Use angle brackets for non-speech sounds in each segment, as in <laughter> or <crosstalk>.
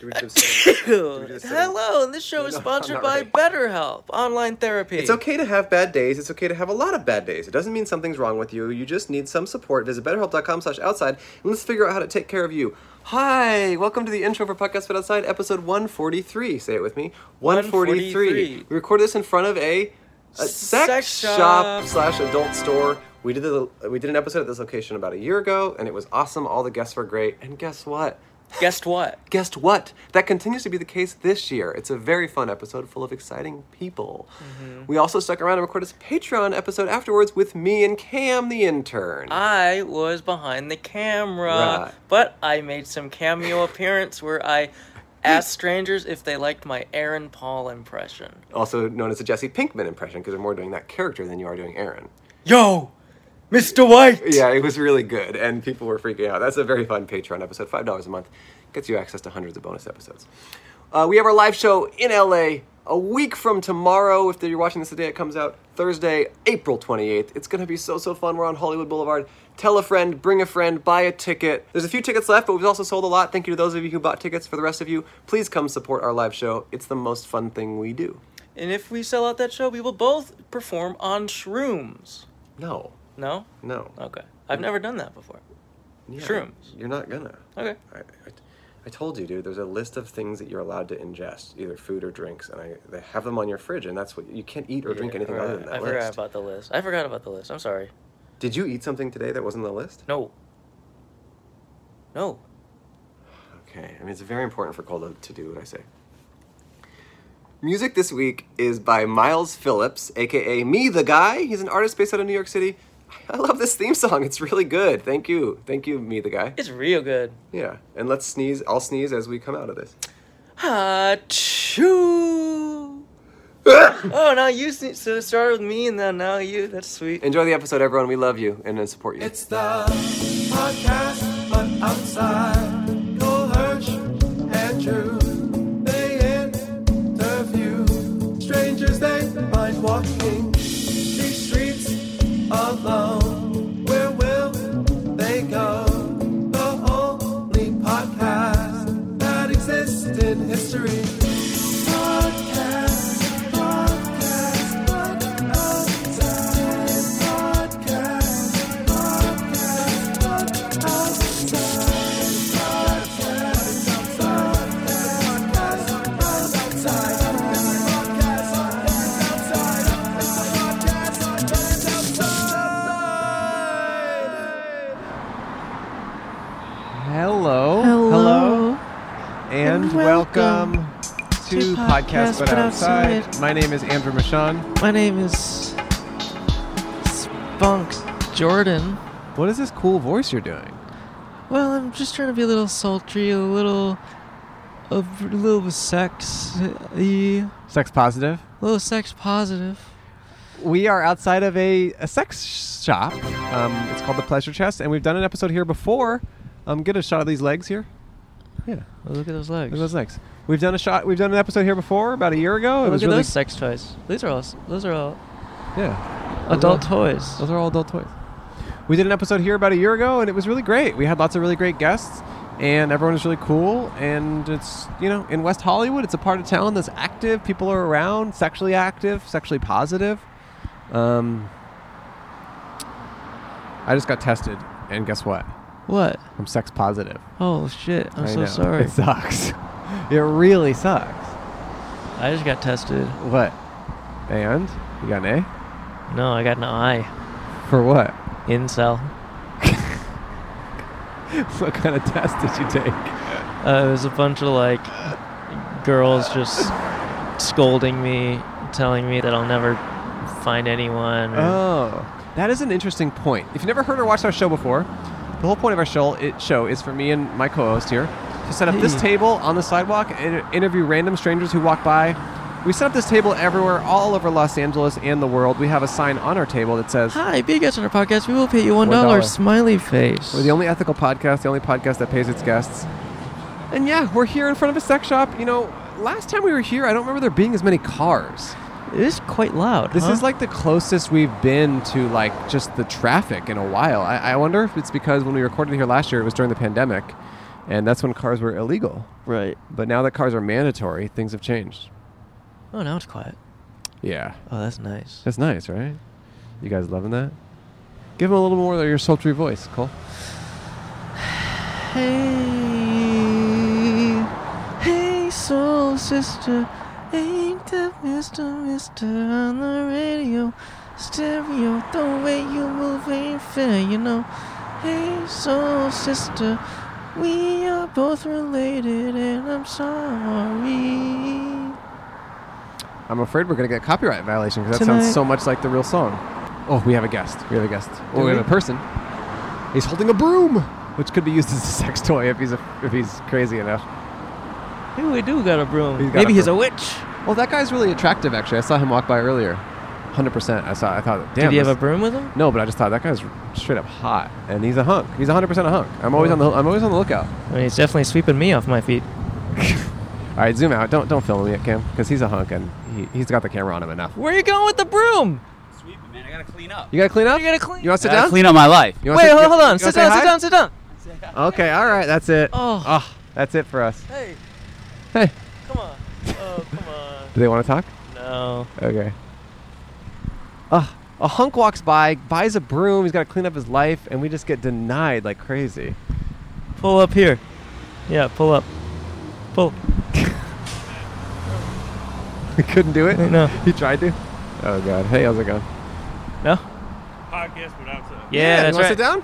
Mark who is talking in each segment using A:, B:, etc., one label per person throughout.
A: Do we just <laughs> say- do we just say-
B: Hello, and
A: <laughs>
B: this show is
A: No, uh, I'm
B: sponsored
A: not
B: by
A: ready.
B: BetterHelp Online Therapy.
A: It's okay to have bad days. It's okay to have a lot of bad days. It doesn't mean something's wrong with you. You just need some support. Visit betterhelp.com slash outside and let's figure out how to take care of you. Hi, welcome to the intro for Podcast Fit Outside, episode 143. Say it with me. 143.
B: 143.
A: We recorded this in front of a, a sex,
B: Sex
A: shop,
B: shop.
A: slash adult store. We did, the, we did an episode at this location about a year ago and it was awesome. All the guests were great. And guess what?
B: Guess what?
A: Guess what? That continues to be the case this year. It's a very fun episode full of exciting people. We also stuck around and recorded a Patreon episode afterwards with me and Cam, the intern.
C: Uh,
B: I was behind the camera,
A: Right.
B: but I made some
A: <laughs>
B: cameo appearance where I asked strangers if they liked my Aaron Paul impression.
A: also known as the Jesse Pinkman impression, because you're more doing that character than you are doing Aaron.
B: Yo, Mr. White.
A: Yeah, it was really good, and people were freaking out. That's a very fun Patreon episode. Five dollars a month gets you access to hundreds of bonus episodes. Uh, we have our live show in LA a week from tomorrow. If you're watching this the day it comes out, Thursday, April 28th. It's gonna be so so fun. We're on Hollywood Boulevard. Tell a friend, bring a friend, buy a ticket. There's a few tickets left, but we've also sold a lot. Thank you to those of you who bought tickets. For the rest of you, please come support our live show. It's the most fun thing we do.
B: And if we sell out that show, we will both perform on shrooms.
A: No,
B: No?
A: no.
C: Uh,
B: Okay. I've never done that before.
A: Yeah,
B: Shrooms.
A: You're not gonna.
B: Okay.
A: I, I, I told you, dude. There's a list of things that you're allowed to ingest, either food or drinks, and I they have them on your fridge, and that's what you can't eat or drink anything other than
B: I
A: that
B: forgot
A: list.
B: about the list. I forgot about the list. I'm sorry.
A: Did you eat something today that wasn't on the list?
B: No. No.
A: Okay. I mean, it's very important for Coldo to do what I say. Music this week is by Miles Phillips, aka Me the Guy. He's an artist based out of New York City. I love this theme song. It's really good. Thank you. Thank you, Me the Guy.
B: It's real good.
A: Yeah. And let's sneeze. I'll sneeze as we come out of this.
B: Achoo. oh, now you sne- so it started with me and then now you. That's sweet.
A: Enjoy the episode, everyone. We love you and uh, support you.
D: It's the podcast, but outside. Cole Hirsch and Drew, they interview strangers they find walking these streets alone. Where will they go? The only podcast that exists in history. Podcast, podcast, but outside. Podcast.
E: Hello.
C: Hello.
E: And,
C: And
E: welcome,
C: welcome
E: to, Podcast,
C: to Podcast
E: But
C: But
E: Outside.
C: Outside.
E: My name is Andrew Michon.
C: My name is Spunk Jordan.
E: What is this cool voice you're doing?
C: Well, I'm just trying to be a little sultry, a little, a little sex, a
E: Sex positive?
C: little sex positive.
E: We are outside of a, a sex shop. Um, it's called The Pleasure Chest, and we've done an episode here before. Um, get a shot of these legs here. Yeah, look
C: Oh, look at those legs.
E: at those legs. We've done a shot. We've done an episode here before, about a year ago.
C: Oh,
E: It
C: look
E: was
C: at
E: really
C: those sex toys. These are all. s- Those are all
E: yeah.
C: adult toys.
E: Those are all adult toys. We did an episode here about a year ago, and it was really great. We had lots of really great guests, and everyone was really cool. And it's you know in West Hollywood, it's a part of town that's active. People are around, sexually active, sexually positive. Um, I just got tested, and guess what?
C: What?
E: I'm sex positive.
C: Oh shit! I'm
E: I
C: so
E: know.
C: sorry. <laughs>
E: It sucks. <laughs> it really sucks.
C: I just got tested.
E: What? And you got an A
C: No, I got an eye.
E: for what? <laughs>
C: Incel.
E: what kind of test did you take?
C: Uh, it was a bunch of like girls just scolding me, telling me that I'll never find anyone. or-
E: Oh, that is an interesting point. If you've never heard or watched our show before, the whole point of our show, it, show is for me and my co-host here to set up this
C: Hey.
E: table on the sidewalk and interview random strangers who walk by. We set up this table everywhere, all over Los Angeles and the world. We have a sign on our table that says,
C: Hi, be a guest on our podcast. We will pay you one
E: $1.
C: dollar. Smiley face.
E: "We're the only ethical podcast, the only podcast that pays its guests." And yeah, we're here in front of a sex shop. You know, last time we were here, I don't remember there being as many cars.
C: it is quite loud.
E: This
C: huh?
E: is like the closest we've been to like just the traffic in a while. I, I wonder if it's because when we recorded here last year, it was during the pandemic, and that's when cars were illegal.
C: Right.
E: But now that cars are mandatory, things have changed.
C: Oh, now it's quiet.
E: Yeah,
C: Oh, that's nice.
E: that's nice, right? You guys loving that? Give them a little more of your sultry voice, Cole.
C: Hey, hey, soul sister, ain't that Mister Mister on the radio? Stereo, the way you move ain't fair, you know. Hey, soul sister, we are both related, and I'm sorry.
E: I'm afraid we're gonna get copyright violation because that
C: Tonight-
E: sounds so much like the real song. Oh, we have a guest. We have a guest. Oh, we,
C: we?
E: have a person. He's holding a broom, which could be used as a sex toy if he's a, if he's crazy enough.
C: Maybe we do got a
E: He's
C: broom.
E: got a
C: Maybe he's
E: broom.
C: a witch.
E: Well, that guy's really attractive. Actually, I saw him walk by earlier. Hundred percent. I saw. I thought. Damn.
C: Did he have
E: this-
C: a broom with him?
E: No, but I just thought that guy's straight up hot, and he's a hunk. He's 100 percent a hunk. I'm always on the I'm always on the lookout.
C: I mean, he's definitely sweeping me off my feet.
E: All right, zoom out. Don't don't film him yet, Cam, because he's a hunk and he he's got the camera on him enough.
C: Where are you going with the broom?
F: Sweeping, man. I gotta clean up.
E: You gotta clean up.
C: You gotta clean.
E: You want to sit
F: I gotta
E: down?
F: clean up my life.
E: You wanna
C: Wait,
E: sit-
C: hold,
E: you-
C: hold on.
E: you wanna
C: Sit down, sit
E: say
C: down, sit down.
E: hi? Okay, all right, that's it. Ah,
C: Oh.
E: that's it for us.
B: Hey,
E: Hey,
B: come on. Oh, come on.
E: do they want to talk?
C: No.
E: Okay. Uh, a hunk walks by, buys a broom. He's got to clean up his life, and we just get denied like crazy.
C: Pull up here. Yeah, pull up. Pull.
E: <laughs> We couldn't do it.
C: No.
E: he tried to. Oh god. Hey, how's it going?
C: No?
G: podcast without the.
C: Yeah, that's
E: you wanna
C: right.
E: sit down?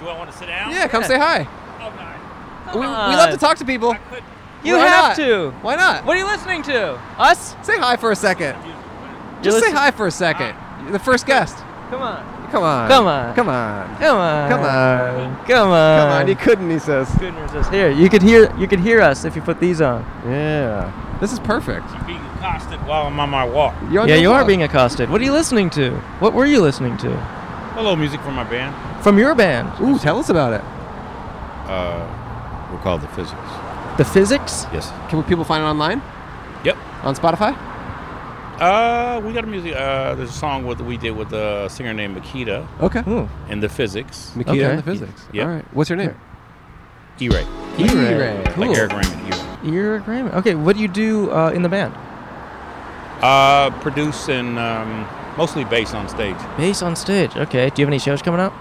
G: Do I want to sit down?
E: Yeah, come say hi.
G: Oh, no.
E: We, we love to talk to people.
G: I couldn't.
C: You
E: Why
C: have
E: not?
C: to.
E: Why not?
C: What are you listening to? Us?
E: Say hi for a second.
C: You're
E: Just say
C: listen-
E: hi for a second. You're the first guest.
C: Come on.
E: Come on.
C: Come on.
E: Come on.
C: Come on.
E: Come on.
C: Come on.
E: Come on. You couldn't, he says.
C: couldn't resist. Here, you could hear you could hear us if you put these on.
E: Yeah. This is perfect.
G: I'm being accosted while I'm on my walk.
E: You're on
C: yeah,
E: your
C: you are
E: blog.
C: being accosted. What are you listening to? What were you listening to?
G: A little music from my band.
C: From your band?
E: Ooh, tell us about it.
F: Uh, we're called the Physics.
C: The Physics?
F: Yes.
E: Can people find it online?
G: Yep.
E: On Spotify?
G: Uh, we got a music. Uh, there's a song with we did with a singer named Makita
E: Okay.
C: Ooh.
G: and the Physics.
E: Makita
C: Okay.
E: and the Physics.
G: Yeah.
E: All right. What's your name?
G: E-Ray,
C: E-Ray.
G: like
E: Cool.
G: Eric Raymond. E-Ray.
C: Ear agreement. Okay, what do you do uh, in the band?
G: Uh, produce and um, mostly bass on stage.
C: Bass on stage. Okay. Do you have any shows coming up?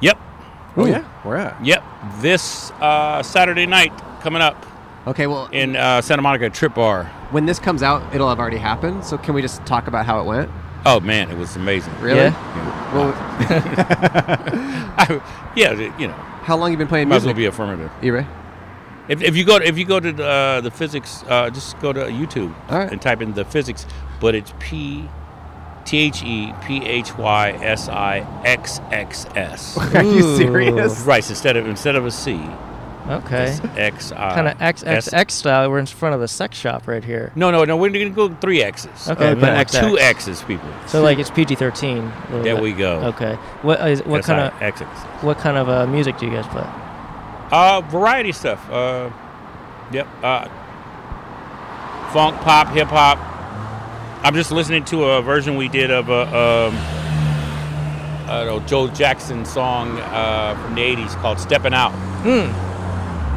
G: Yep,
E: Ooh,
C: Ooh.
E: Oh, yeah. We're at.
G: yep. This uh, Saturday night coming up
E: Okay, well,
G: in uh, Santa Monica Trip Bar.
E: when this comes out, it'll have already happened. So can we just talk about how it went?
G: Oh man, it was amazing.
E: Really?
C: Yeah.
E: Well,
G: <laughs> yeah, you know,
E: how long you been playing
G: might as
E: music?
G: well be affirmative.
E: E-Ray?
G: If, if you go if you go to the, uh, the physics, uh, just go to YouTube
E: All right.
G: and type in the physics, but it's P T H E P H Y S I X X S.
E: <laughs> Are you
C: Ooh.
E: serious?
G: Right, instead of instead of a C,
C: Okay.
G: it's X I.
C: Kind of XXX style. We're in front of a sex shop right here.
G: No, no, no. We're gonna go with three X's.
C: Okay,
G: Uh,
C: next
G: two
C: X.
G: X's, people.
C: So like it's PG-13. a little
G: There
C: bit.
G: we go.
C: Okay. What is what kind of
G: X X?
C: what kind of uh, music do you guys play?
G: Uh, variety stuff. Uh, yep. Uh, funk, pop, hip hop. I'm just listening to a version we did of a um, I don't know, Joe Jackson song uh, from the '80s called "Steppin' Out,"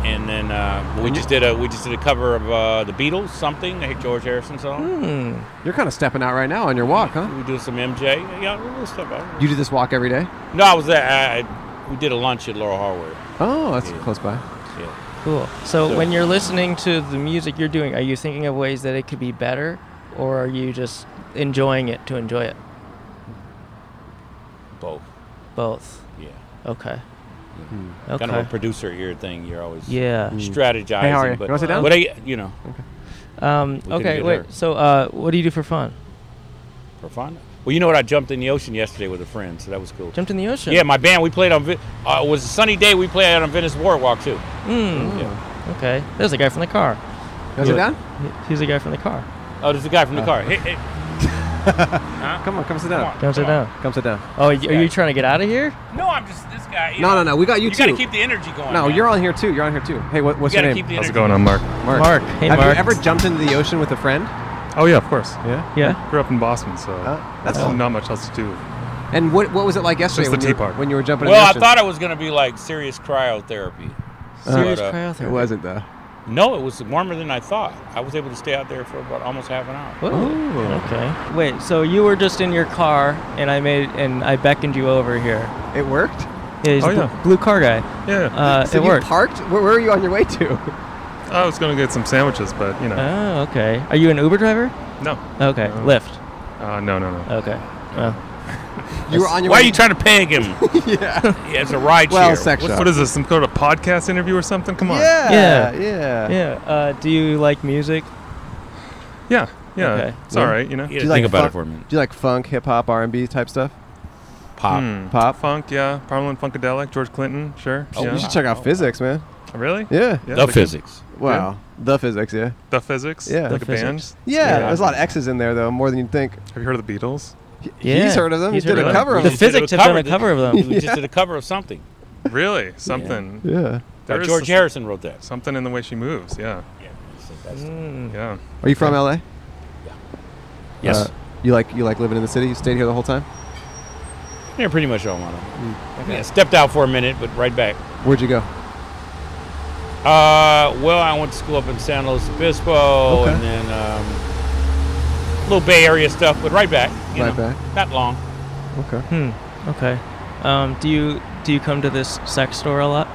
G: and then uh, we just did a we just did a cover of uh, the Beatles, something a George Harrison song.
E: You're kind of stepping out right now on your walk, huh?
G: We did some MJ. Yeah, a little stuff.
E: You do this walk every day?
G: no, I was there. I, I, we did a lunch at Laurel Hardware.
E: Oh, that's
G: Yeah.
E: close by.
G: Yeah.
C: Cool. So,
G: So-
C: when you're listening to the music you're doing, are you thinking of ways that it could be better, or are you just enjoying it to enjoy it?
G: Both.
C: Both.
G: Yeah.
C: Okay.
G: Kind of a
C: Okay.
G: producer ear thing. You're always
C: Yeah.
G: Hmm. strategizing.
E: Hey, how are you?
G: But,
E: You wanna sit down?
G: But I, you know,
C: Um,
G: couldn't
C: okay.
G: get
C: Wait.
G: her.
C: So, uh, what do you do for fun?
G: for fun. Well, you know what? I jumped in the ocean yesterday with a friend, so that was cool.
C: Jumped in the ocean.
G: Yeah, my band. We played on. Vi- Uh, it was a sunny day. We played out on Venice Boardwalk too.
C: Mm,
G: Yeah.
C: okay. There's a guy from the car.
E: Goes it down?
C: He- He's a guy from the car.
G: Oh, there's a guy from
E: Uh,
G: the car. Hey, hey,
E: Come on, come sit
G: come
E: down.
G: on,
C: Don't sit
G: come on.
C: down.
E: Come sit down.
C: Oh, y- are you trying to get out of here?
G: No, I'm just this guy. you
E: No,
G: know.
E: no, no. We got you,
G: You
E: too.
G: gotta keep the energy going.
E: no,
G: man.
E: you're on here too. You're on here too. Hey, what, what's
G: You
E: your
G: gotta
E: name?
G: keep the energy.
H: How's it going? I'm Mark.
E: Mark.
C: Mark. Hey,
E: Have
C: Mark.
E: you ever jumped into the ocean with a friend?
H: Oh yeah, of course.
E: Yeah.
C: Yeah.
H: Grew up in Boston, so
E: Oh, that's
H: there's
E: fun.
H: not much else to do.
E: And what what was it like yesterday
H: the
E: when, you
H: tea
E: were,
H: part.
E: when you were jumping
G: Well, I
E: in the ocean?
G: thought it was gonna be like serious cryotherapy.
B: Serious
G: But, uh,
B: cryotherapy.
E: It wasn't though.
G: No, it was warmer than I thought. I was able to stay out there for about almost half an hour.
E: Ooh.
B: Okay. Wait. So you were just in your car, and I made and I beckoned you over here.
E: It worked.
B: Yeah, he's
H: Oh,
B: a bl-
H: yeah.
B: blue car guy.
H: Yeah.
B: Uh,
E: so
B: it
E: you
B: worked.
E: parked. Where, where are you on your way to?
H: I was gonna get some sandwiches, but you know,
B: oh, okay. Are you an Uber driver?
E: Uh-huh.
H: no.
B: Okay.
H: No.
B: Lyft.
H: Uh, no, no, no.
B: Okay. Uh. Well,
E: You were on your
G: Why
E: way.
G: are you trying to peg
E: <laughs>
G: him? yeah. It's a ride
E: Well,
G: share.
E: sex shop.
H: What is this? Some sort of podcast interview or something? Come on.
E: yeah,
B: Yeah.
E: yeah.
B: yeah. Uh, do you like music?
H: Yeah. Yeah.
B: Okay.
H: It's all right. You know.
G: Yeah,
E: Do you
G: think
E: like
G: about
E: funk-
G: it for a minute.
E: Do you like funk, hip hop, R and B type stuff?
G: Pop.
H: Hmm.
E: Pop.
H: Funk. Yeah. Parliament Funkadelic. George Clinton. Sure.
G: Oh,
H: yeah.
E: You should check out
G: Oh.
E: physics, man.
H: Really?
E: Yeah.
G: The
H: Yeah, like-
G: physics.
E: Wow. The physics, yeah.
H: The physics.
E: Yeah.
H: Like
E: The
H: a band.
B: Physics.
E: Yeah,
H: Yeah.
E: there's a lot of X's in there though, more than you'd think.
H: Have you heard of the Beatles?
E: He-
B: Yeah,
E: He's heard of them.
B: he's
E: he did
B: heard
E: a
B: of
E: cover
B: them.
E: of
B: The
E: them.
G: Just did a
B: physics have done a
G: that-
B: cover of them.
G: We just did a cover of <laughs> something.
E: <laughs>
H: Really? Something.
E: Yeah.
G: Uh,
H: There is
G: George
H: some-
G: Harrison wrote that.
H: Something in the way she moves. Yeah.
B: Mm.
H: Yeah.
E: Are you from LA?
G: Yes.
E: Uh, you like you like living in the city? You stayed here the whole time?
G: yeah, pretty much all want to. Yeah, stepped out for a minute, but right back.
E: Where'd you go?
G: Uh, well, I went to school up in San Luis Obispo,
E: Okay.
G: and then um, little Bay Area stuff, but right back. You
E: Right
G: know,
E: back.
G: Not long.
E: Okay.
B: Hmm. Okay. Um, do you do you come to this sex store a lot?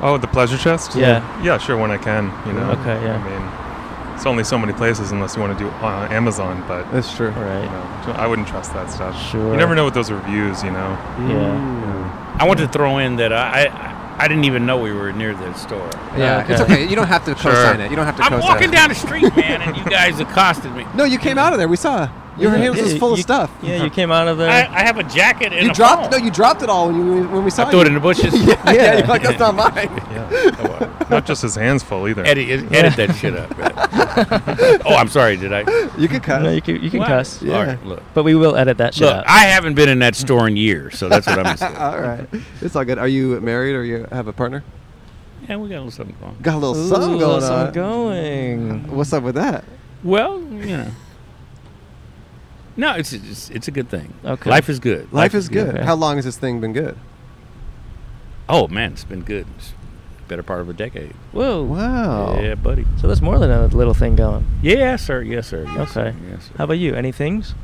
H: Oh, the pleasure chest?
B: Yeah.
H: Yeah, sure, when I can, you know.
B: Okay, yeah.
H: I mean, it's only so many places unless you want to do uh, Amazon, but
E: That's true.
H: you
B: Right.
H: know, I wouldn't trust that stuff.
B: Sure.
H: You never know with those reviews, you know.
B: Yeah.
G: I want to throw in that I, I I didn't even know we were near that store.
E: Yeah,
B: Okay.
E: it's okay. You don't have to co-sign it. You don't have to
G: I'm
E: co-sign.
G: walking
E: it.
G: down the street, man, and you guys accosted me.
E: <laughs> No, you came out of there. We saw. Your
B: Yeah,
E: hands
B: yeah,
E: was full of
B: you-
E: stuff.
B: Yeah. You came out of there.
G: I, I have a jacket and
E: You
G: a
E: dropped.
G: phone.
E: No, you dropped it all when you when we saw
G: I threw
E: you.
G: it in the bushes.
E: <laughs> yeah, yeah. You're like that's not mine.
H: <laughs> Yeah. Oh, Not just his hands full either.
G: Edit, edit, that shit up. <laughs> man. oh, I'm sorry. Did I?
E: You could cut.
B: no, you can you can
G: What?
B: cuss.
E: Yeah.
G: All right, look.
B: But we will edit that shit
G: Look,
B: out.
G: I haven't been in that store in years, so that's what I'm
E: <laughs>
G: saying.
E: All right, it's all good. Are you married or you have a partner?
G: <laughs> Yeah, we got a little something going.
E: Got a little
B: Ooh,
E: something going
B: something
E: on.
B: going.
E: What's up with that?
G: Well, you know. No, it's it's, it's a good thing.
B: Okay.
G: Life is good.
E: Life, is good.
B: okay.
E: How long has this thing been good?
G: Oh man, it's been good. It's better part of a decade.
B: Whoa. Oh.
E: Wow.
G: Yeah, buddy.
B: So there's more than a little thing going.
G: Yeah, sir. Yes, sir. Yes,
B: Okay.
G: Sir. Yes, sir.
B: How about you? Any things?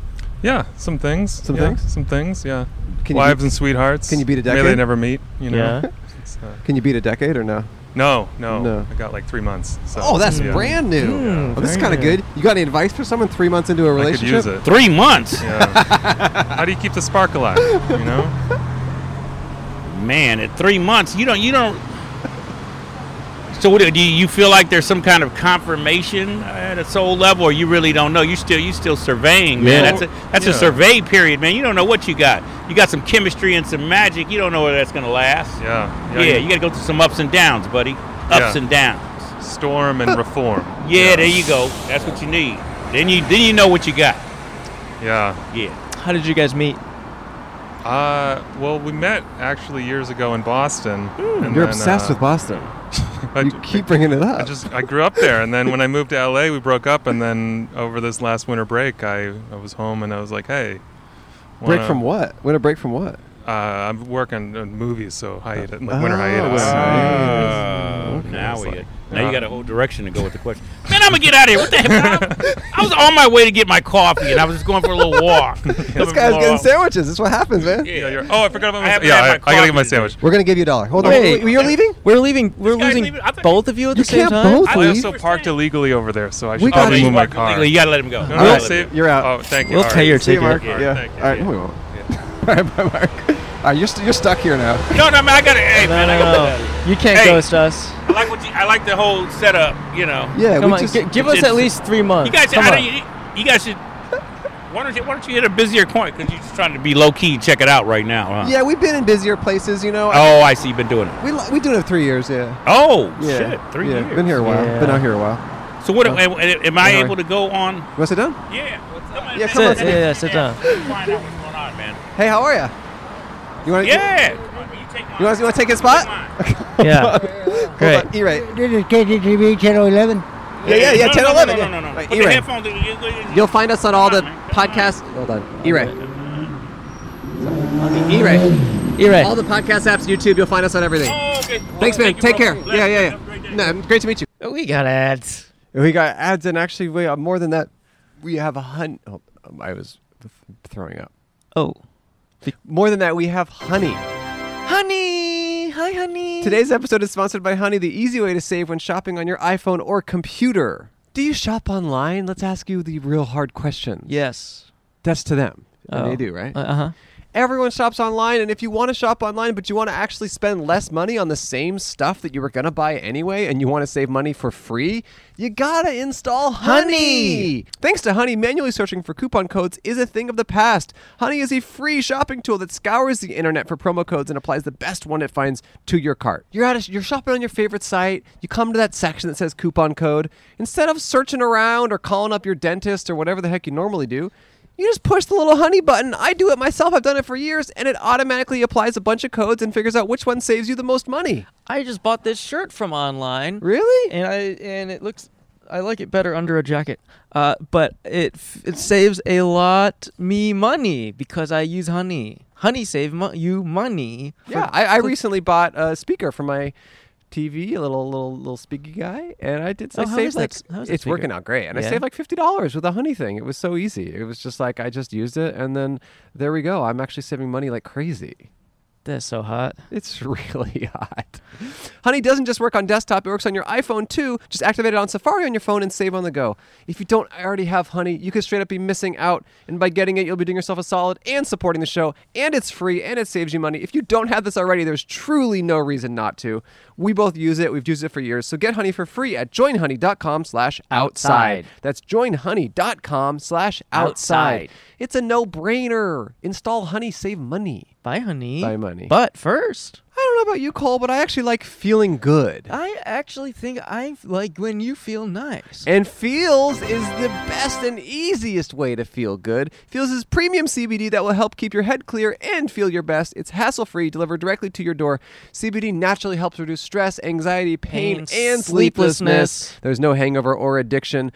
H: Yeah, some things.
E: Some
H: yeah,
E: things?
H: Some things, yeah.
E: Can you
H: Wives
E: beat-
H: and sweethearts.
E: can you beat a
H: May they
E: decade?
H: never meet, you know.
B: Yeah.
H: <laughs> It's, uh,
E: Can you beat a decade or no?
H: no, no,
E: No.
H: I got like three months. So,
E: Oh, that's
H: yeah.
E: brand new.
B: Mm,
E: oh, this is
B: very
E: kind of
B: new.
E: good. You got any advice for someone three months into a
H: I could
E: relationship?
H: use it.
G: Three months.
H: Yeah.
E: <laughs>
H: How do you keep the spark alive? You know?
G: Man, at three months, you don't you don't. So what do- do you, you feel like? There's some kind of confirmation at a soul level, or you really don't know. You still you still surveying, man.
H: Yeah.
G: That's a that's a
H: Yeah.
G: survey period, man. You don't know what you got. You got some chemistry and some magic. You don't know whether that's gonna last.
H: Yeah.
G: Yeah, you got to go through some ups and downs, buddy. Ups
H: Yeah.
G: and downs.
H: storm
E: <laughs>
H: and reform.
G: Yeah, there you go. That's what you need. Then you then you know what you got.
H: Yeah.
G: Yeah.
B: How did you guys meet?
H: Uh, well, we met actually years ago in Boston. and
E: Hmm. You're
H: then,
E: obsessed
H: uh,
E: with Boston.
H: I,
E: You
H: ju-
E: keep bringing it up.
H: I just I grew up there, and
E: <laughs>
H: then when I moved to LA, we broke up, and then over this last winter break, I, I was home and I was like, hey,
E: break
H: wanna-
E: from what? Winter break from what?
H: Uh, I'm working on movies, so hiatus, like winter
E: Oh,
H: hiatus.
G: Uh, now we now you got a whole direction to go with the question. Man, I'm gonna get out of here. What the heck? I, I was on my way to get my coffee, and I was just going for a little walk.
H: <laughs>
E: This guy's getting sandwiches. That's what happens, man.
H: Yeah, you're, oh, I forgot
G: I
H: about my.
G: haven't
H: yeah,
G: had
H: I,
G: my
H: I gotta
G: coffee
H: get my
G: today.
H: sandwich.
E: We're gonna give you a dollar. Hold on.
B: Wait.
E: Wait, wait, you're leaving?
B: We're leaving. We're
G: guy's
B: losing
G: leaving- I thought-
B: both of you at
E: You
B: the same
E: can't
B: time.
E: both
H: I
E: leave.
H: also parked illegally over there, so I should
E: We gotta-
H: probably move my
G: Parked
H: car.
G: illegally. Oh, You gotta let him go.
H: No,
G: Gotta
H: no,
G: let him
H: save-
G: go.
E: You're out.
H: Oh, thank you.
B: We'll
H: all
B: pay
H: right.
B: your
E: See you,
B: ticket.
E: Mark.
H: All right,
E: Yeah.
H: thank you.
E: All right. No, we won't. <laughs> All right, bye, Mark. All right, you're, st- you're stuck here now.
G: No, no, man. I gotta. Hey,
B: No,
G: man. I
B: no,
G: gotta.
B: no. You can't
G: Hey.
B: ghost us.
G: I like what you, I like the whole setup. You know.
E: Yeah,
B: Come
E: we
B: on,
E: just
B: gi- give us
G: it's-
B: at least three months.
G: You guys,
B: Come
G: I
B: on.
G: don't, you, you guys should. Why don't you Why don't you hit a busier point? Because you're just trying to be low key. Check it out right now. Huh?
E: yeah, we've been in busier places, you know.
G: Oh, I see. You've been doing it.
E: We li- we do it three years, yeah.
G: Oh
E: Yeah,
G: shit! Three
E: yeah.
G: years.
E: Been here a while. Been
B: Yeah.
E: out here a while.
G: So what? Am, am- am I
E: Sorry.
G: able to go on?
E: You want to sit down?
G: Yeah. Come on,
E: Yeah,
G: man.
E: come on,
G: Let me-
B: sit- yeah, sit down.
G: Find out what's going on, man.
E: Hey, how are ya? You want to? <laughs>
G: Yeah. Come on, You take
E: You want to take his spot? <laughs>
B: yeah. Great.
E: Hold on, E-Ray.
I: This is KTTV Channel 11.
E: Yeah, yeah, yeah.
G: No,
E: Ten
G: no,
E: eleven.
G: No, no, no, no. no.
E: Wait,
G: Put the
E: E-Ray.
G: headphones in. You- you-
E: You'll find us on all the
G: Come on, man.
E: podcasts. Hold on. E-Ray. E-Ray.
C: You're right.
E: All the podcast apps, YouTube, you'll find us on everything.
G: Oh,
E: Thanks, man. Take care. Yeah, yeah, yeah. No, great to meet you.
C: Oh, we got ads.
E: We got ads, and actually, we uh, more than that, we have a hun. Oh, um, I was th- throwing up.
C: Oh.
E: More than that, we have honey.
C: Honey. Hi, honey.
E: Today's episode is sponsored by Honey, the easy way to save when shopping on your iPhone or computer. Do you shop online? Let's ask you the real hard questions.
C: Yes.
E: That's to them. And
C: Oh.
E: they do, right?
C: Uh huh.
E: Everyone shops online, and if you want to shop online, but you want to actually spend less money on the same stuff that you were going to buy anyway, and you want to save money for free, you got to install Honey.
C: Honey.
E: Thanks to Honey, manually searching for coupon codes is a thing of the past. Honey is a free shopping tool that scours the internet for promo codes and applies the best one it finds to your cart. You're at a, you're shopping on your favorite site, you come to that section that says coupon code. Instead of searching around or calling up your dentist or whatever the heck you normally do, you just push the little honey button. I do it myself. I've done it for years, and it automatically applies a bunch of codes and figures out which one saves you the most money.
C: I just bought this shirt from online.
E: Really?
C: And I and it looks I like it better under a jacket. Uh, but it f- it saves a lot me money because I use honey. Honey save mo- you money. for-
E: Yeah, I, I recently bought a speaker for my TV, a little little little speaky guy, and I did.
C: Oh,
E: I
C: how
E: saved
C: is
E: like
C: that s- how is that
E: it's
C: speaker?
E: working out great, and I
C: Yeah.
E: saved like fifty dollars with a honey thing. It was so easy. It was just like I just used it, and then there we go. I'm actually saving money like crazy.
C: That's so hot.
E: <laughs> It's really hot. Honey doesn't just work on desktop, it works on your iPhone too. Just activate it on Safari on your phone and save on the go. If you don't already have Honey, you could straight up be missing out. And by getting it, you'll be doing yourself a solid and supporting the show. And it's free and it saves you money. If you don't have this already, there's truly no reason not to. We both use it. We've used it for years. So get Honey for free at joinhoney.com slash outside.
C: Outside.
E: That's joinhoney.com slash outside.
C: Outside.
E: It's a no-brainer. Install Honey, save money.
C: Buy honey.
E: Buy money.
C: But first,
E: I don't know about you, Cole, but I actually like feeling good.
C: I actually think I like when you feel nice.
E: And Feels is the best and easiest way to feel good. Feels is premium CBD that will help keep your head clear and feel your best. It's hassle free, delivered directly to your door. CBD naturally helps reduce stress, anxiety, pain,
C: Pain,
E: and sleeplessness.
C: sleeplessness.
E: There's no hangover or addiction.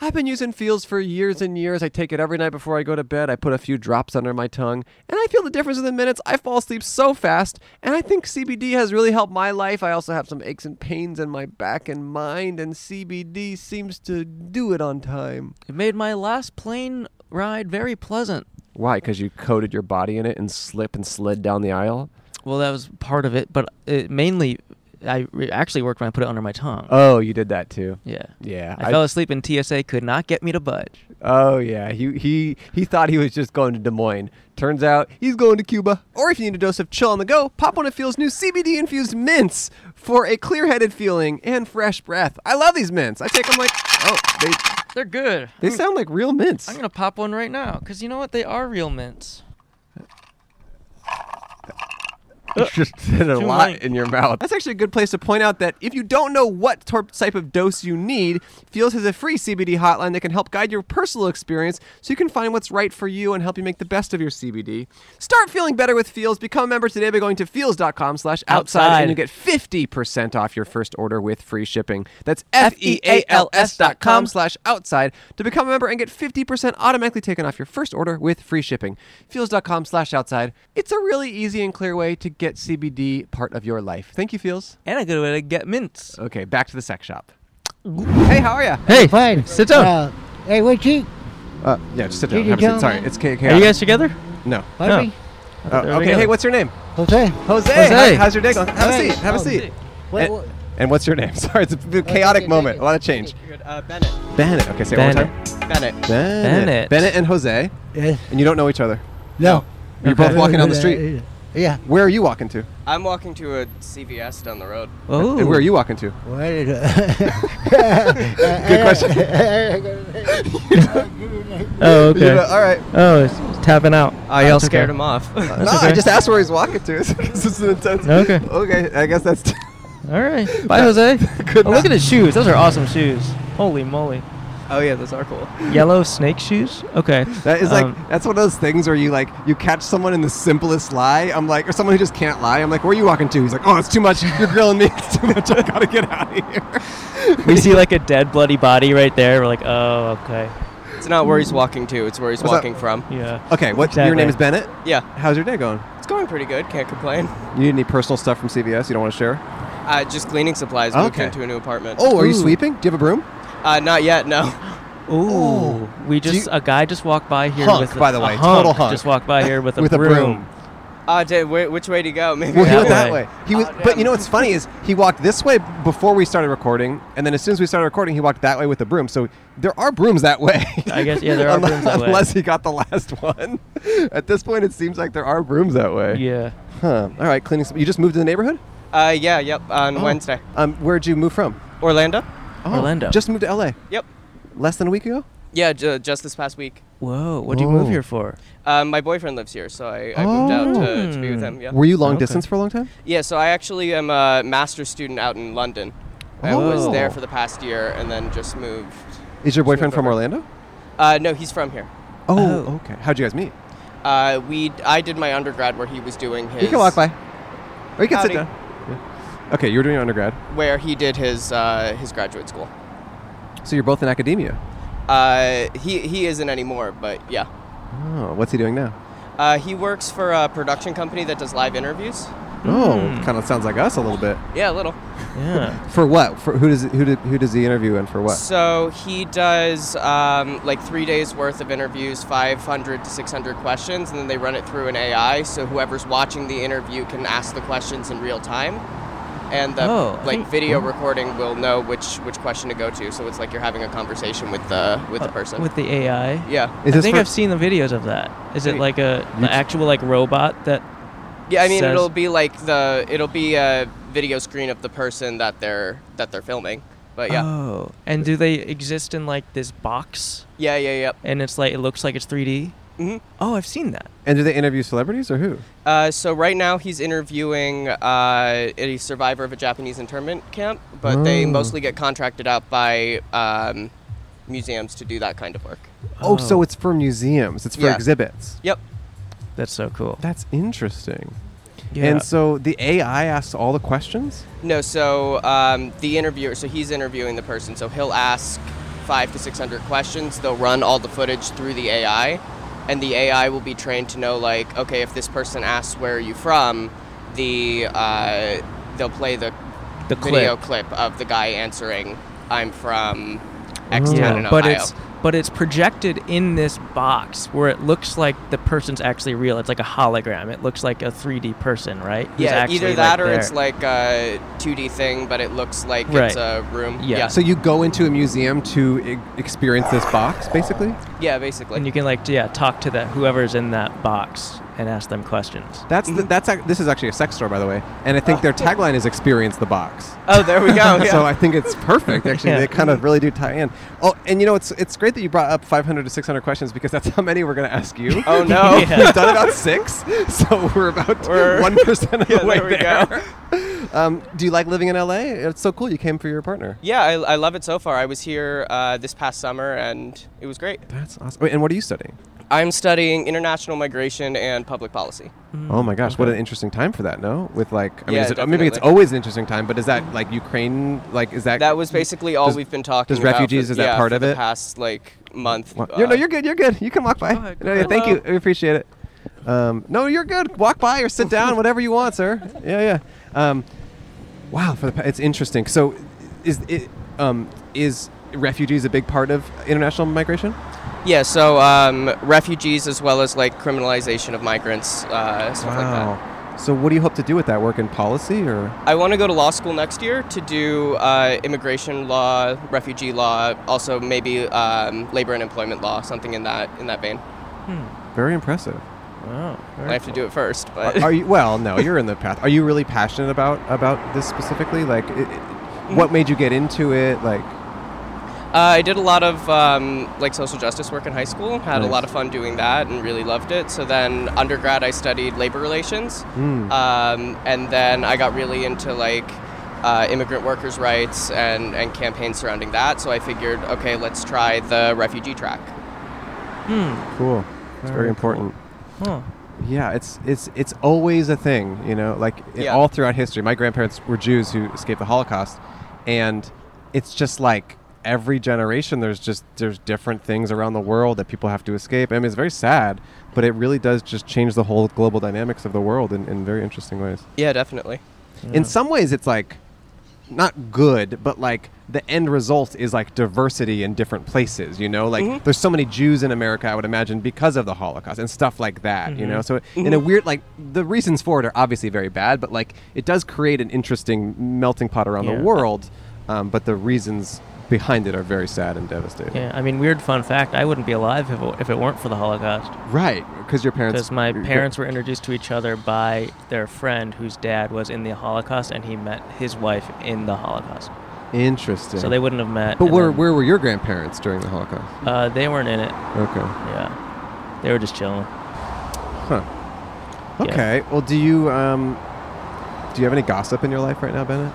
E: I've been using Feels for years and years. I take it every night before I go to bed. I put a few drops under my tongue, and I feel the difference in the minutes. I fall asleep so fast, and I think CBD has really helped my life. I also have some aches and pains in my back and mind, and CBD seems to do it on time.
C: it made my last plane ride very pleasant.
E: Why? Because you coated your body in it and slip and slid down the aisle?
C: Well, that was part of it, but it mainly I it actually worked when I put it under my tongue.
E: Oh, you did that too.
C: yeah.
E: Yeah.
C: I, fell asleep and TSA could not get me to budge.
E: Oh yeah, he he he thought he was just going to Des Moines. Turns out he's going to Cuba. Or if you need a dose of chill on the go, pop one of Feel's new CBD infused mints for a clear-headed feeling and fresh breath. I love these mints. I take them like oh they
C: They're good.
E: they sound like real mints.
C: I'm gonna pop one right now, cause you know what? They are real mints.
E: It's just did a
C: Too
E: lot
C: light.
E: in your mouth. That's actually a good place to point out that if you don't know what tor- type of dose you need, Feels has a free CBD hotline that can help guide your personal experience so you can find what's right for you and help you make the best of your CBD. Start feeling better with Feels. Become a member today by going to feels.com slash outside
C: Outside.
E: and you get 50% off your first order with free shipping. That's E
C: F-E-A-L-S
E: dot
C: dot
E: com
C: com
E: slash outside to become a member and get 50% automatically taken off your first order with free shipping. Feels.com slash outside. It's a really easy and clear way to get CBD part of your life. Thank you, Feels.
C: And a good way to get mints.
E: Okay, back to the sex shop. Hey, how are you?
C: Hey,
I: Fine.
C: Sit down.
I: Uh, hey, what you?
E: Uh, yeah, just sit down.
I: Ladies
E: Have
I: and
E: a seat. Sorry,
I: gentlemen.
E: it's K.
C: are you guys together?
E: No.
I: Bobby?
E: Uh,
C: they're
E: okay,
C: together.
E: hey, what's your name?
I: Jose?
E: Jose.
C: Jose.
E: How- how's your day going? Have a
I: Hey.
E: seat. Have a
I: Oh,
E: seat.
I: Wait,
E: And-
I: wait.
E: And what's your name? <laughs> Sorry, it's a bit Eh, chaotic
I: take it,
E: moment.
I: take
E: A lot of
I: it.
E: change.
J: Uh, Bennett.
E: Bennett. Okay, say it one more
C: Bennett.
E: time.
J: Bennett.
E: Bennett.
C: Bennett.
E: Bennett and Jose.
I: Yes.
E: And you don't know each other.
I: No.
E: You're both walking down the street.
I: Yeah.
E: Where are you walking to?
J: I'm walking to a CVS down the road.
C: Oh,
E: And where are you walking
C: <laughs>
E: to? <laughs>
I: Well, it- Good
E: question.
I: <laughs>
C: Oh,
E: You
C: okay.
E: know, all right.
C: Oh, it's it's tapping out.
E: Ah,
J: Oh, y'all
C: okay.
J: scared
E: <laughs>
J: him off.
E: no, I just asked where he's walking to. <laughs> this is an intense.
C: Okay.
E: Okay. I guess that's.
C: All right. Bye, Jose.
E: Could
C: Oh, look
E: not-
C: at his shoes. Those are awesome shoes. Holy moly.
J: oh yeah, those are cool.
C: Yellow snake shoes? Okay.
E: that is like
C: Um,
E: that's one of those things where you like you catch someone in the simplest lie. I'm like, or someone who just can't lie. I'm like, where are you walking to? He's like, oh, it's too much. You're grilling me. <laughs> It's too much. I gotta get out of here. <laughs>
C: we see like a dead bloody body right there. We're like, oh, okay.
J: It's not where he's walking to. It's where he's
E: What's up?
J: walking from.
C: Yeah.
E: Okay. What? Your
C: Exactly.
E: name is Bennett.
J: Yeah.
E: How's your day going?
J: It's going pretty good. Can't complain. <laughs>
E: You need any personal stuff from CVS you don't want to share?
J: Uh, just cleaning supplies. Moved
E: Ah, Okay.
J: into a new apartment.
E: Oh, are you sweeping? Do you have a broom?
J: Uh, not yet. No. <laughs>
B: Ooh, we just a guy just walked by here
J: Hunk,
B: with a-
J: by the way,
B: a
J: total
B: hunk
J: hunk.
B: Just walked by here with a
E: With a
B: broom.
E: broom.
J: Uh, did, wh- which way do you go? <laughs> Maybe
E: Well, he went that way. He was, but you know what's funny is he walked this way before we started recording, and then as soon as we started recording, he walked that way with the broom. So there are brooms that way.
B: I guess,
E: <laughs>
B: yeah, there are
E: Unle-
B: brooms that way.
E: Unless he got the last one. <laughs> At this point, it seems like there are brooms that way.
B: Yeah.
E: Huh. All right, cleaning. Some, you just moved to the neighborhood
J: Uh, yeah. Yep. On
E: Oh.
J: Wednesday.
E: Um, where'd you move from?
J: Orlando.
E: Oh,
J: Orlando.
E: Just moved to L.A.
J: Yep.
E: Less than a week ago.
J: Yeah. Ju- just this past week.
B: Whoa, what do you move
E: Whoa.
B: here for?
J: Um, my boyfriend lives here, so I, I moved out to, to be with him. Yeah.
E: Were you long distance for a long time?
J: Yeah, so I actually am a master's student out in London. I was
E: Oh.
J: there for the past year and then just moved.
E: Is your boyfriend from Orlando?
J: Uh, no, he's from here.
E: Oh, okay. How'd you guys meet?
J: Uh, we I did my undergrad where he was doing his.
E: You can walk by, or you can sit
J: Howdy.
E: down. Yeah. Okay, you were doing undergrad,
J: Where he did his uh, his graduate school.
E: so you're both in academia.
J: Uh, he he isn't anymore, but yeah.
E: Oh, what's he doing now?
J: Uh, he works for a production company that does live interviews.
E: Oh, kind of sounds like us a little bit.
J: Yeah, a little.
E: for what? For who does who did, who does he interview and for what?
J: So he does um, like three days worth of interviews, 500 to 600 questions, and then they run it through an AI. So whoever's watching the interview can ask the questions in real time, and the
B: Oh, I
J: like
B: think-
J: video
B: oh.
J: recording will know which which question to go to. So it's like you're having a conversation with the with the person.
B: Uh, With the AI?
J: Yeah.
B: I
J: Is this
B: think
J: for-
B: I've seen the videos of that. Is it
J: Wait.
B: like a an actual like robot that
J: yeah, I mean
B: says-
J: it'll be like the it'll be a video screen of the person that they're that they're filming. But yeah.
B: Oh. And do they exist in like this box?
J: Yeah, yeah, yeah.
B: And it's like it looks like it's 3D?
J: Mhm.
B: Oh, I've seen that.
E: And do they interview celebrities or who?
J: Uh, so right now he's interviewing uh, a survivor of a Japanese internment camp, but they
E: Oh.
J: mostly get contracted out by um, museums to do that kind of work.
E: Oh, so it's for museums. It's for
J: Yeah.
E: exhibits.
J: Yep.
B: That's so cool.
E: That's interesting.
J: Yeah.
E: And so the AI asks all the questions.
J: No, so um, the interviewer, so he's interviewing the person, so he'll ask five to six hundred questions. They'll run all the footage through the AI, and the AI will be trained to know, like, okay, if this person asks where are you from, the uh, they'll play the,
B: The
J: video clip of the guy answering, "I'm from X town in Ohio."
B: but it's but it's projected in this box where it looks like the person's actually real. It's like a hologram. It looks like a 3D person, right? Who's
J: yeah,
B: actually,
J: either
B: like,
J: that or it's
B: there.
J: like a 2D thing, but it looks like it's a room.
E: So you go into a museum to e- experience this box, basically.
J: Yeah, basically.
B: And you can like yeah, talk to that whoever's in that box and ask them questions.
E: That's the, that's ac- this is actually a sex store, by the way. And I think their tagline is "Experience the box."
J: Oh, there we go, <laughs> yeah.
E: <laughs> so I think it's perfect. Actually,
B: Yeah.
E: they kind of really do tie in. Oh, and you know, it's it's great that you brought up 500 to 600 questions because that's how many we're going to ask you.
J: <laughs> Oh,
E: <laughs>
J: no.
E: we've
J: Yeah.
E: done about six, so we're about <laughs>
J: We're-
E: one percent of
J: <laughs> Yeah,
E: the way
J: there we
E: there. <laughs>
J: go.
E: Um, do you like living in LA? It's so cool. You came for your partner.
J: Yeah, I, I love it so far. I was here uh, this past summer, and it was great.
E: That's awesome. Wait, and what are you studying?
J: I'm studying international migration and public policy.
E: Oh my gosh, what an interesting time for that, no? With like, I mean,
J: Mm, Yeah,
E: is it, uh, maybe it's
J: definitely.
E: always an interesting time, but is that like Ukraine? Like, is that
J: That was basically all
E: does-
J: we've been talking
E: Does
J: about.
E: refugees
J: for,
E: is that
J: yeah,
E: part
J: for
E: of
J: the
E: it?
J: Past like month. uh,
E: What? Yeah, no, you're good. You're good. You can walk by. No, yeah, thank you. We appreciate it. Um, no, you're good. Walk by or sit down, whatever you want, sir. Yeah, yeah. Um, wow, for the, pa- it's interesting. So, is it um, is refugees a big part of international migration?
J: Yeah, so um, refugees as well as like criminalization of migrants, uh, stuff like that.
E: So, what do you hope to do with that work in policy or?
J: I want to go to law school next year to do uh, immigration law, refugee law, also maybe um, labor and employment law, something in that in that vein.
E: Very impressive.
B: Wow.
J: I have to do it first, but
E: Are- are you well? No, you're in the path. Are you really passionate about about this specifically? Like, i i
J: Mm.
E: what made you get into it? Like,
J: <laughs> Uh, I did a lot of um, like social justice work in high school. Had a
E: Nice.
J: lot of fun doing that and really loved it. So then undergrad, I studied labor relations,
E: Mm.
J: um, and then I got really into like uh, immigrant workers' rights and and campaigns surrounding that. So I figured, okay, let's try the refugee track.
E: cool. It's very,
J: Very
E: important.
B: Huh.
E: Yeah, it's it's it's always a thing, you know. Like i-
J: Yeah.
E: all throughout history, my grandparents were Jews who escaped the Holocaust, and it's just like every generation there's just there's different things around the world that people have to escape. I mean, it's very sad, but it really does just change the whole global dynamics of the world in, in very interesting ways.
J: Yeah, definitely.
E: In some ways, it's like not good, but like the end result is like diversity in different places. You know, like
J: Mhm.
B: Mm-hmm.
E: there's so many Jews in America, I would imagine, because of the Holocaust and stuff like that. You know,
J: Mhm.
B: Mm-hmm.
E: so in a
J: Mhm.
E: weird like the reasons for it are obviously very bad, but like it does create an interesting melting pot around
B: Yeah.
E: the world. Um, but the reasons behind it are very sad and devastating.
B: Yeah, I mean, weird fun fact: I wouldn't be alive if it, if it weren't for the Holocaust.
E: Right, because your parents.
B: Because my
E: your-
B: parents were introduced to each other by their friend whose dad was in the Holocaust, and he met his wife in the Holocaust.
E: Interesting.
B: So they wouldn't have met.
E: But
B: and
E: where
B: then-
E: where were your grandparents during the Holocaust?
B: Uh, they weren't in it.
E: Okay.
B: Yeah, they were just chilling.
E: Huh. Okay. Well, do you um, do you have any gossip in your life right now, Bennett?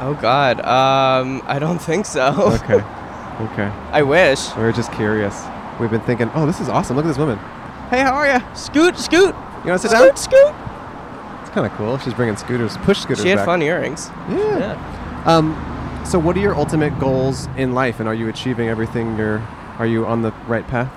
J: Oh God, um, I don't think so.
E: Okay. Okay.
J: <laughs> I wish.
E: We were just curious. We've been thinking, oh, this is awesome. Look at this woman. Hey, how are you?
B: Scoot, scoot.
E: You want to sit down?
B: Scoot, scoot.
E: It's kind of cool. She's bringing scooters, push scooters.
J: she had
E: back.
J: fun earrings.
E: Yeah. Um, so what are your ultimate goals in life, and are you achieving everything? You're, are you on the right path?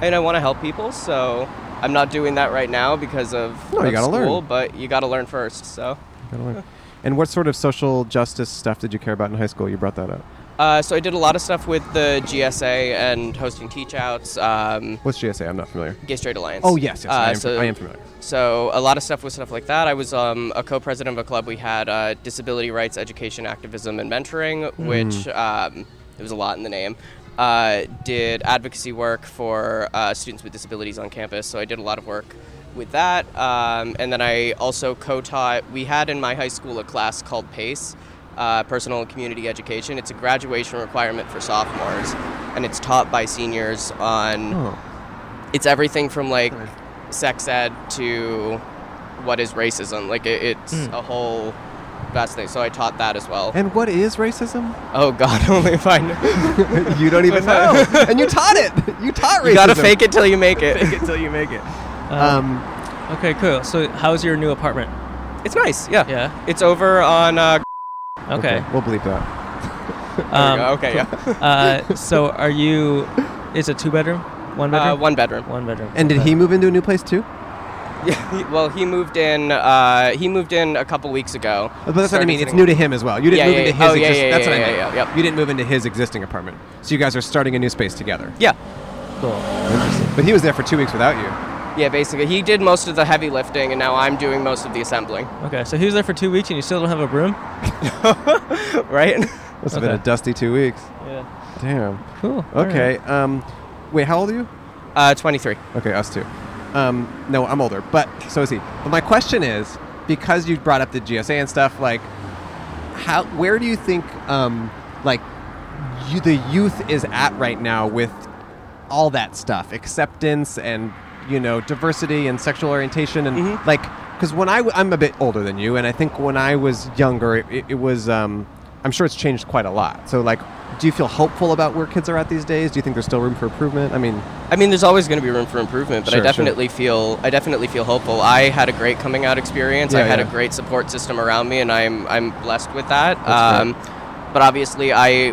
J: and I want to help people, so I'm not doing that right now because of,
E: No, you
J: of
E: gotta
J: school.
E: learn.
J: But you got to learn first. So,
E: Gotta learn. And what sort of social justice stuff did you care about in high school? You brought that up.
J: uh, so I did a lot of stuff with the GSA and hosting teachouts. Um,
E: What's GSA? I'm not familiar.
J: Gay Straight Alliance.
E: Oh, yes, yes, I am fam-
J: Uh, so,
E: I am familiar.
J: So a lot of stuff was stuff like that. I was um, a co-president of a club. We had uh, disability rights, education, activism, and mentoring,
E: Hmm.
J: which um, it was a lot in the name. Uh, did advocacy work for uh, students with disabilities on campus. So I did a lot of work with that, um, and then I also co-taught. We had in my high school a class called PACE. Uh, personal and community education. It's a graduation requirement for sophomores, and it's taught by seniors on
E: Oh.
J: it's everything from like sex ed to what is racism. Like it, it's
E: Mm.
J: a whole vast thing. So I taught that as well.
E: And what is racism?
J: oh God, <laughs> only if I know.
E: <laughs> you don't even know.
J: <laughs>
E: and you taught it. You taught racism.
J: You gotta fake it till you make it.
E: Fake it till you make it.
B: Um, okay, cool. So, how's your new apartment?
J: It's nice. Yeah.
B: Yeah.
J: It's over on. Uh,
B: Okay.
E: We'll believe that. Um,
J: we
E: <laughs>
J: go. Okay,
B: cool. uh, so, are you? Is it two bedroom? One
J: Uh,
B: bedroom.
J: one bedroom.
B: One bedroom.
E: And did
B: Okay.
E: he move into a new place too?
J: Yeah. he- well, he moved in. Uh, he moved in a couple weeks ago.
E: But that's what I
J: Started
E: mean. It's
J: sitting-
E: new to him as well. You didn't
J: Yeah,
E: move
J: yeah,
E: into
J: yeah.
E: his.
J: Oh, yeah,
E: exist-
J: yeah,
E: that's what
J: yeah,
E: I mean.
J: yeah, yeah, yep.
E: You didn't move into his existing apartment, so you guys are starting a new space together.
J: Yeah.
B: Cool.
E: Interesting. But he was there for two weeks without you.
J: Yeah. Basically, he did most of the heavy lifting, and now I'm doing most of the assembling.
B: Okay, so he was there for two weeks, and you still don't have a broom?
J: Right. <laughs>
E: Must have been
B: Okay.
E: a dusty two weeks.
B: Yeah.
E: Damn.
B: Cool. all right.
E: Okay. Um, wait, how old are you?
J: Uh, 23.
E: Okay, us too. Um, no, I'm older, but so is he. But my question is, because you brought up the GSA and stuff, like, how, where do you think, um, like, you, the youth is at right now with all that stuff, acceptance and you know diversity and sexual orientation and like, because when I w- I'm a bit older than you, and I think when I was younger, it, it, it was, um, I'm sure it's changed quite a lot. So like. Do you feel hopeful about where kids are at these days? Do you think there's still room for improvement? I mean,
J: I mean, there's always going to be room for improvement, but
E: Sure,
J: I
E: sure.
J: definitely feel I definitely feel hopeful. I had a great coming out experience. I
E: Yeah,
J: had
E: yeah.
J: a great support system around me, and I'm I'm blessed with that.
E: That's
J: Um, but obviously, I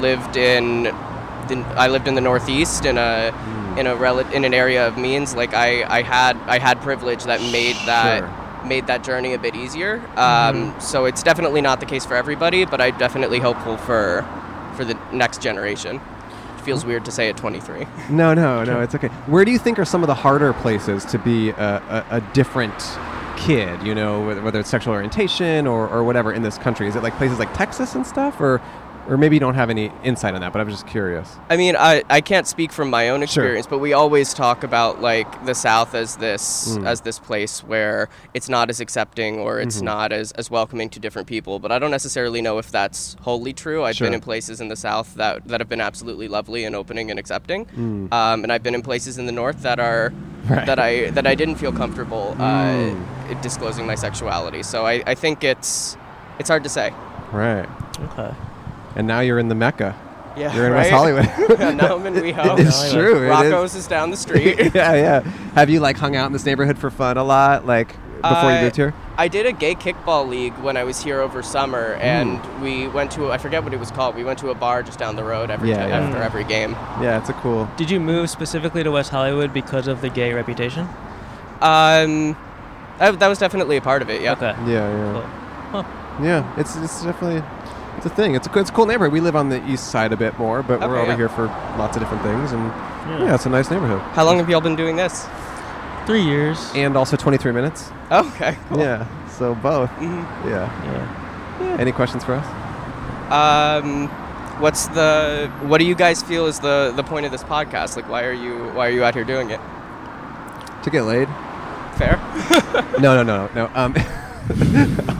J: lived in the, I lived in the Northeast in a
E: Hmm.
J: in a rel- in an area of means. Like I, I had I had privilege that made that.
E: Sure. Mm-hmm.
J: Made that journey a bit easier, um, so it's definitely not the case for everybody. But I'm definitely hopeful for for the next generation. feels weird to say at 23.
E: No, no, no, it's okay. Where do you think are some of the harder places to be a, a, a different kid, you know, whether, whether it's sexual orientation or, or whatever in this country? Is it like places like Texas and stuff? Or, or maybe you don't have any insight on that, but I'm just curious.
J: I mean, I, I can't speak from my own experience, but we always talk about like the South as this
E: Mm.
J: as this place where it's not as accepting or it's
E: Mhm.
J: not as, as welcoming to different people. But I don't necessarily know if that's wholly true. I've
E: Sure.
J: been in places in the South that, that have been absolutely lovely and opening and accepting,
E: Mm.
J: um, and I've been in places in the North that are
E: Right.
J: that I that I didn't feel comfortable
E: Mm.
J: uh, disclosing my sexuality. So I, I think it's it's hard to say.
E: Right.
B: Okay.
E: And now you're in the Mecca. <laughs>
J: Yeah,
E: You're in West
J: right?
E: Hollywood.
J: yeah, <laughs> now
E: <laughs>
J: I'm in WeHo.
E: it's true. it is. <laughs>
J: Rocco's is down the street.
E: yeah, yeah. Have you like hung out in this neighborhood for fun a lot? Like, before you
J: Uh,
E: moved here?
J: I did a gay kickball league when I was here over summer,
E: Hmm.
J: and we went to I forget what it was called. We went to a bar just down the road every
E: Yeah,
J: ti-
E: yeah.
J: after every game.
E: Yeah, it's a cool.
B: Did you move specifically to West Hollywood because of the gay reputation?
J: Um, that, that was definitely a part of it. Yeah.
B: Okay.
E: Yeah, yeah. Yeah, it's it's definitely it's a thing. It's a coo- it's a cool neighborhood. We live on the east side a bit more, but we're
J: Okay,
E: over
J: yeah.
E: here for lots of different things, and yeah. it's a nice neighborhood.
J: How long have y'all been doing this? Oh,
B: Three years.
E: And also 23 minutes.
J: Okay. Cool.
E: Yeah, so both.
J: Mhm.
E: Yeah.
B: Yeah.
E: <laughs> Any questions for us?
J: Um, what's the what do you guys feel is the the point of this podcast? Like, why are you why are you out here doing it?
E: To get laid?
J: Fair.
E: no, no, no, no. no. Um, <laughs>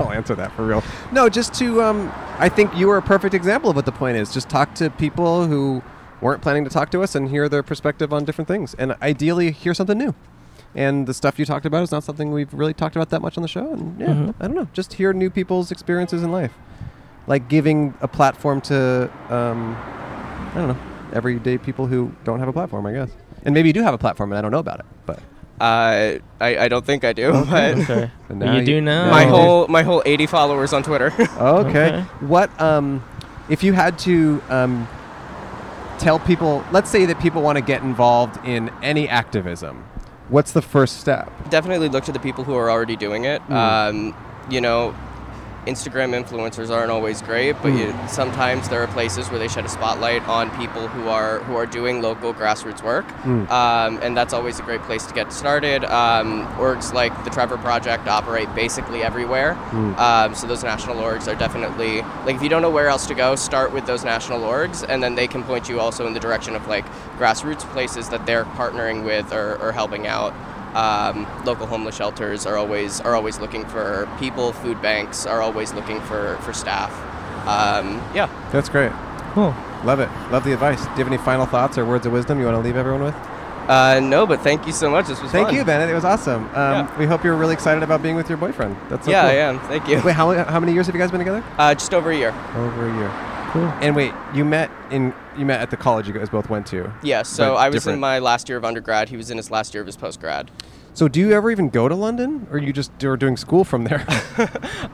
E: I'll answer that for real. No, just to, um, I think you were a perfect example of what the point is. Just talk to people who weren't planning to talk to us and hear their perspective on different things, and ideally hear something new. And the stuff you talked about is not something we've really talked about that much on the show. And yeah,
B: Mhm.
E: I don't know. Just hear new people's experiences in life, like giving a platform to, um, I don't know, everyday people who don't have a platform, I guess. And maybe you do have a platform, and I don't know about it. But
J: Uh, I I don't think I do, but
B: Okay.
E: And
B: But
E: now
B: you
E: you-
B: do now.
J: my
E: Oh.
J: whole my whole 80 followers on Twitter. <laughs>
E: Okay.
B: Okay.
E: What um, if you had to um, tell people? Let's say that people want to get involved in any activism. What's the first step?
J: definitely look to the people who are already doing it. Um, you know, Instagram influencers aren't always great, but you, sometimes there are places where they shed a spotlight on people who are who are doing local grassroots work, um, and that's always a great place to get started. Um, orgs like the Trevor Project operate basically everywhere, um, so those national orgs are definitely like if you don't know where else to go, start with those national orgs, and then they can point you also in the direction of like grassroots places that they're partnering with or, or helping out um, local homeless shelters are always are always looking for people. Food banks are always looking for for staff. Um, yeah.
E: That's great.
B: Cool.
E: Love it. Love the advice. Do you have any final thoughts or words of wisdom you want to leave everyone with?
J: Uh, no, but thank you so much. This was
E: Thank
J: fun.
E: you, Bennett. It was awesome. Um,
J: Yeah.
E: We hope you're really excited about being with your boyfriend. That's so
J: yeah,
E: cool.
J: I am. Thank you.
E: Wait, how, how many years have you guys been together?
J: Uh, just over a year.
E: Over a year. Cool. And wait, you met in you met at the college you guys both went to.
J: Yeah. So
E: But
J: I was
E: different.
J: in my last year of undergrad. He was in his last year of his postgrad.
E: So do you ever even go to London, or you just are doing school from there? <laughs>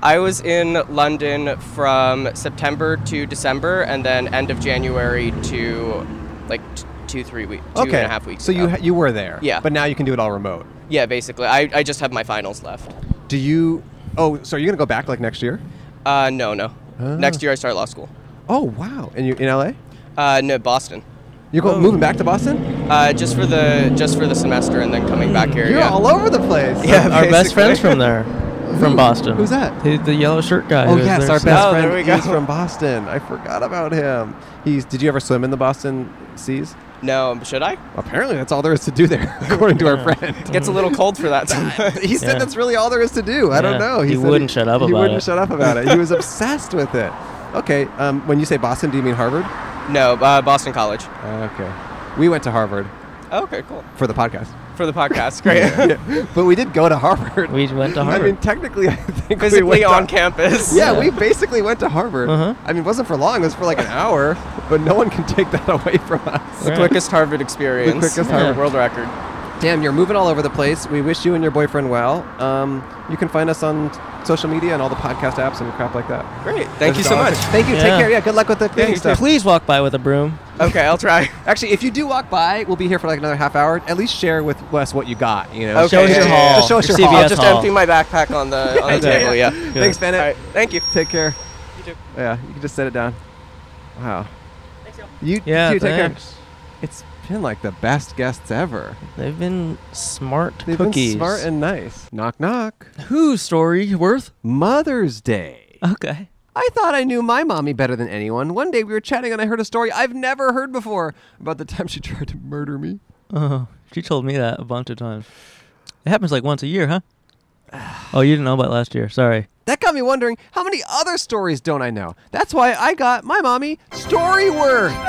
J: I was in London from September to December, and then end of January to like t- two, three weeks, two and a half weeks.
E: So you
J: ago.
E: ha- you were there.
J: Yeah.
E: But now you can do it all remote.
J: yeah, basically. I, I just have my finals left.
E: Do you? Oh, so are you gonna go back like next year?
J: Uh, no, no.
E: Ah.
J: Next year I start law school.
E: Oh wow! And you in LA?
J: Uh, no, Boston.
E: You're going, moving back to Boston?
J: Uh, just for the just for the semester and then coming back here.
E: You're
J: yeah.
E: all over the place.
J: Yeah.
B: Our best
J: basically.
B: friends from there, from Boston.
E: Who's that?
B: The, the yellow shirt guy.
E: Oh
B: who was
E: yes,
B: there
E: our
B: since-
E: best
J: Oh, there
E: friend
J: we go.
E: is from Boston. I forgot about him. He's. Did you ever swim in the Boston seas?
J: no, should I?
E: Apparently, that's all there is to do there, <laughs> according to our friend.
J: Gets a little cold for that. <laughs> sometimes.
E: <laughs> he said
B: Yeah.
E: that's really all there is to do. I don't
B: Yeah.
E: know.
B: He
E: said
B: wouldn't shut up
E: he
B: about
E: wouldn't
B: it.
E: shut up about it. He was obsessed with it. Okay. Um, when you say Boston, do you mean Harvard?
J: no, uh, Boston College.
E: Okay. We went to Harvard
J: Oh, okay, cool.
E: for the podcast. <laughs>
J: For the podcast, great.
E: Yeah, but we did go to Harvard.
B: We went to
E: I mean,
B: Harvard.
E: technically, I think we
J: <laughs> Physically
E: went
J: on
E: to,
J: campus.
E: Yeah, we basically went to Harvard.
B: Uh-huh.
E: I mean, it wasn't for long. It was for like an hour. But no one can take that <laughs> away from us.
J: The
B: Right.
J: quickest Harvard experience.
E: quickest
B: Harvard.
J: World record.
E: Damn, you're moving all over the place. We wish you and your boyfriend well. Um, you can find us on social media and all the podcast apps and crap like that.
J: Great. Thank you so much.
E: Thank you. Take
B: Yeah.
E: care. Yeah, good luck with the cleaning stuff.
B: Please walk by with a broom.
J: Okay, I'll try.
E: Actually, if you do walk by, we'll be here for like another half hour. At least share with us what you got. You know,
J: Okay. Show us your haul.
E: Just show us your
B: Your
E: haul.
B: CVS
J: I'll just
B: haul.
J: empty my backpack on the on
E: <laughs>
J: the table. Yeah.
E: Thanks, Bennett.
J: All right. Thank you.
E: Take care.
J: You too.
E: Yeah, you can just set it down. Wow. You
B: Yeah,
E: you take care.
B: thanks.
E: It's been like the best guests ever.
B: They've been smart
E: They've
B: cookies.
E: been smart and nice. Knock knock.
B: Who story worth?
E: Mother's
B: <laughs>
E: Day.
B: Okay.
E: I thought I knew my mommy better than anyone. One day we were chatting and I heard a story I've never heard before about the time she tried to murder me.
B: Oh, she told me that a bunch of times. It happens like once a year, huh? <sighs> oh, you didn't know about last year. Sorry.
E: That got me wondering how many other stories don't I know? That's why I got my mommy Storyworth. Storyworth.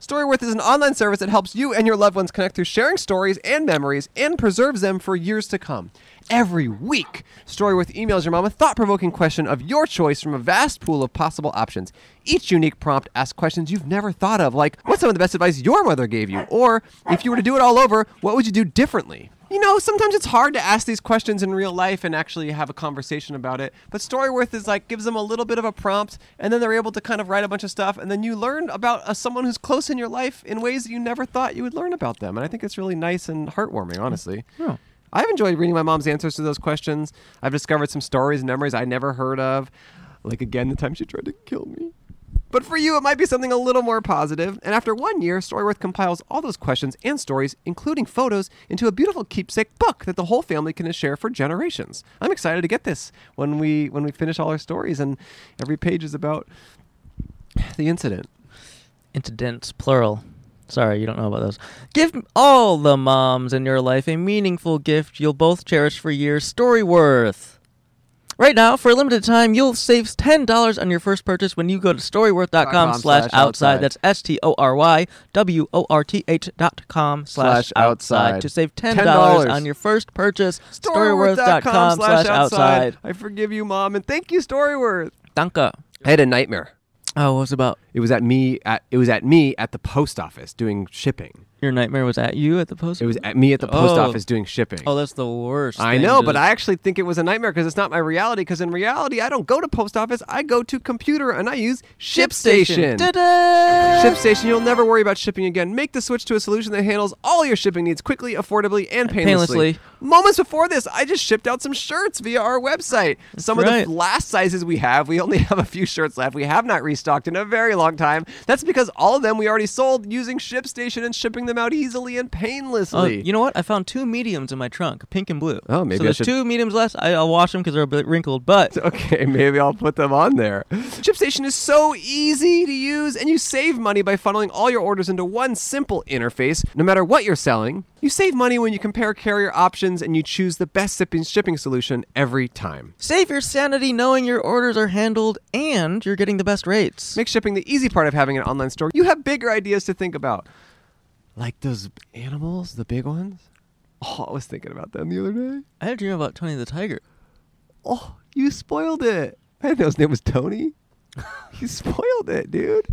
E: Storyworth is an online service that helps you and your loved ones connect through sharing stories and memories and preserves them for years to come. Every week, Storyworth emails your mom a thought provoking question of your choice from a vast pool of possible options. Each unique prompt asks questions you've never thought of, like what's some of the best advice your mother gave you? Or if you were to do it all over, what would you do differently? you know, sometimes it's hard to ask these questions in real life and actually have a conversation about it. But Storyworth is like gives them a little bit of a prompt, and then they're able to kind of write a bunch of stuff, and then you learn about uh, someone who's close in your life in ways that you never thought you would learn about them. And I think it's really nice and heartwarming, honestly.
C: Yeah.
E: I've enjoyed reading my mom's answers to those questions. I've discovered some stories and memories I never heard of, like again the time she tried to kill me. But for you, it might be something a little more positive. And after one year, Storyworth compiles all those questions and stories, including photos, into a beautiful keepsake book that the whole family can share for generations. I'm excited to get this when we when we finish all our stories, and every page is about the incident.
C: Incidents, plural. Sorry, you don't know about those. Give all the moms in your life a meaningful gift you'll both cherish for years. Storyworth. Right now, for a limited time, you'll save $10 on your first purchase when you go to storyworth.com
E: com
C: slash
E: slash
C: outside.
E: outside.
C: That's S-T-O-R-Y-W-O-R-T-H dot com slash
E: Slash
C: outside.
E: outside.
C: To save $10,
E: $10.
C: on your first purchase,
E: Storyworth.com
C: storyworth.com slash outside.
E: I forgive you, mom, and thank you, Storyworth.
C: Danke.
E: I had a nightmare.
C: Oh, what's about?
E: It was at me at it was at me at the post office doing shipping.
C: Your nightmare was at you at the post?
E: It was at me at the post
C: Oh.
E: office doing shipping.
C: Oh, that's the worst.
E: I
C: thing
E: know,
C: to
E: but
C: just-
E: I actually think it was a nightmare because it's not my reality. Because in reality, I don't go to post office. I go to computer and I use ShipStation.
C: Ta-da!
E: ShipStation, you'll never worry about shipping again. Make the switch to a solution that handles all your shipping needs quickly, affordably, and painlessly.
C: painlessly.
E: Moments before this, I just shipped out some shirts via our website. some
C: right.
E: of the last sizes we have, we only <laughs> have a few shirts left. We have not restocked in a very long time. That's because all of them we already sold using ShipStation and shipping them out easily and
C: Oh,
E: painlessly.
C: you know what? I found two mediums in my trunk, pink and blue.
E: Oh, maybe I
C: so there's
E: should-
C: two mediums left. I, I'll wash them because they're a bit wrinkled, but
E: <laughs> Okay, maybe I'll put them on there. ShipStation is so easy to use, and you save money by funneling all your orders into one simple interface, no matter what you're selling. You save money when you compare carrier options and you choose the best shipping shipping solution every time.
C: save your sanity knowing your orders are handled and you're getting the best rates.
E: Make shipping the easy part of having an online store. You have bigger ideas to think about. Like those animals, the big ones? Oh, I was thinking about them the other day.
C: I had a dream about Tony the Tiger.
E: Oh, you spoiled it. I didn't know his name was Tony. <laughs> you spoiled it, dude.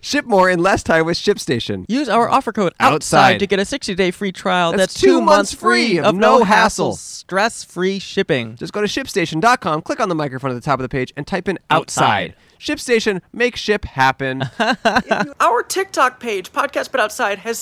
E: Ship more in less time with ShipStation.
C: Use our offer code outside,
E: Outside.
C: to get a 60 day free trial.
E: That's
C: two,
E: two months free of no hassle.
C: stress free shipping.
E: Just go to shipstation.com, click on the microphone at the top of the page, and type in outside. ShipStation, make ship happen.
K: Our TikTok page, Podcast But Outside, has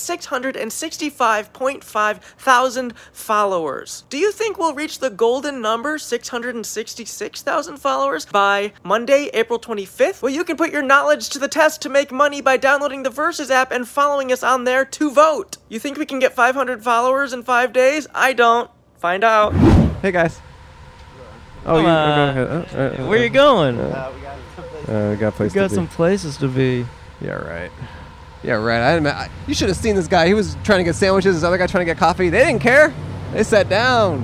K: 665.5 thousand followers. Do you think we'll reach the golden number, 666,000 followers, by Monday, April 25th? Well, you can put your knowledge to the test to make money by downloading the Versus app and following us on there to vote. You think we can get 500 followers in five days? I don't. Find out.
E: <laughs> hey, guys. Oh, you,
C: Come
E: okay, uh, uh, uh,
C: Where you going?
E: uh, we got a
C: we
E: place
C: got
E: to
C: some
E: be.
C: places to be.
E: Yeah, right. Yeah, right. I, didn't- I, you should have seen this guy. He was trying to get sandwiches. This other guy trying to get coffee. They didn't care. They sat down.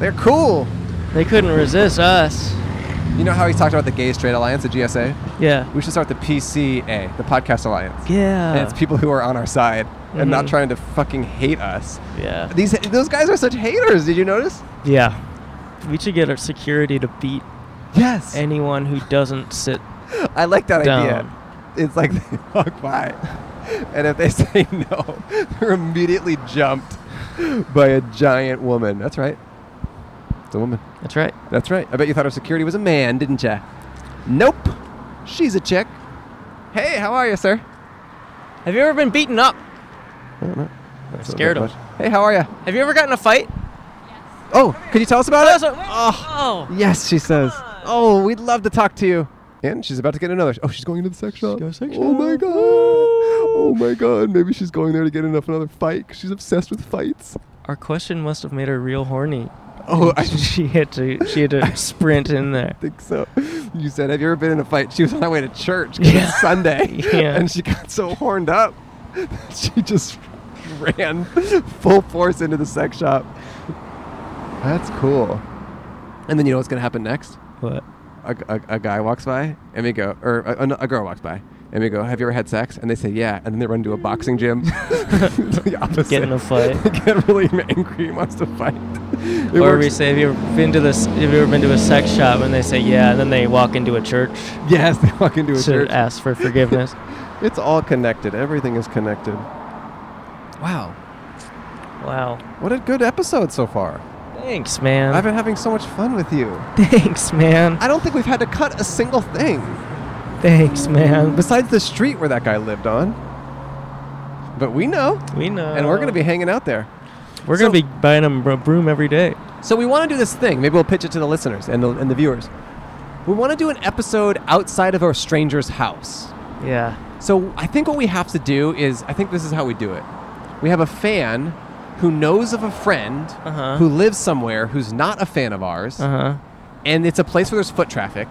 E: They're cool.
C: They couldn't resist us.
E: You know how he talked about the Gay Straight Alliance, the GSA?
C: Yeah.
E: We should start the PCA, the Podcast Alliance.
C: Yeah.
E: And it's people who are on our side and not trying to fucking hate us.
C: yeah.
E: These those guys are such haters. Did you notice?
C: Yeah. We should get our security to beat
E: Yes.
C: anyone who doesn't sit.
E: I like that
C: Down.
E: idea. It's like <laughs> they walk by, and if they <laughs> say no, they're immediately jumped by a giant woman. That's right. It's a woman.
C: That's right.
E: That's right. I bet you thought her security was a man, didn't ya? Nope. She's a chick. Hey, how are you, sir?
C: Have you ever been beaten up?
E: I don't know. That's not
C: Scared
E: that
C: him.
E: much. Hey, how are you?
C: Have you ever gotten in a fight?
E: Oh, could you tell us about it?
C: Oh.
E: Yes, she says. Oh, we'd love to talk to you. And she's about to get another. Oh, she's going into the sex shop. Oh my god. Oh my god. Maybe she's going there to get enough another fight 'cause she's obsessed with fights.
C: Our question must have made her real horny.
E: Oh, I <laughs>
C: <laughs> she had to. She had to sprint in there.
E: think so. You said, "Have you ever been in a fight?" She was on her way to church 'cause <laughs>
C: Yeah.
E: it's Sunday,
C: Yeah.
E: and she got so horned up, <laughs> that she just ran full force into the sex shop. That's cool. And then you know what's gonna happen next?
C: What?
E: a, a, a guy walks by and we go, or a, a- a girl walks by and we go, "Have you ever had sex?" And they say, "Yeah," and then they run to a boxing <laughs> gym. the opposite.
C: Get in a fight.
E: They <laughs> get really angry and wants to fight. It
C: or
E: works-
C: we say, have you ever been to this? Have you ever been to a sex shop? And they say, yeah. And then they walk into a church
E: yes, they walk into a
C: to
E: church.
C: ask for forgiveness.
E: It's all connected. Everything is connected. Wow.
B: Wow.
E: What a good episode so far.
B: Thanks, man.
E: I've been having so much fun with you. <laughs>
B: Thanks, man.
E: I don't think we've had to cut a single thing.
B: Thanks, man.
E: Besides the street where that guy lived on. But we know.
B: <laughs> We know.
E: And we're going to be hanging out there.
B: We're gonna be buying him a broom every day.
E: So we want to do this thing. Maybe we'll pitch it to the listeners and the, and the viewers. We want to do an episode outside of our stranger's house.
B: Yeah.
E: So I think what we have to do is I think this is how we do it. We have a fan who knows of a friend
B: Uh-huh.
E: who lives somewhere who's not a fan of ours,
B: Uh-huh.
E: and it's a place where there's foot traffic.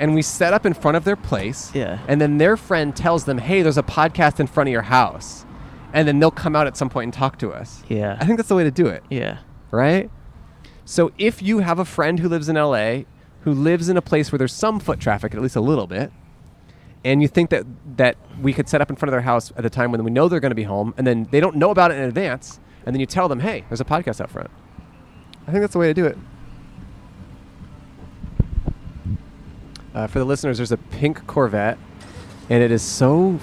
E: And we set up in front of their place.
B: Yeah.
E: And then their friend tells them, "Hey, there's a podcast in front of your house," and then they'll come out at some point and talk to us.
B: Yeah.
E: I think that's the way to do it.
B: Yeah.
E: Right? So if you have a friend who lives in LA, who lives in a place where there's some foot traffic, at least a little bit, and you think that, that we could set up in front of their house at a time when we know they're going to be home, and then they don't know about it in advance, and then you tell them, hey, there's a podcast out front. I think that's the way to do it. Uh, for the listeners, there's a pink Corvette, and it is so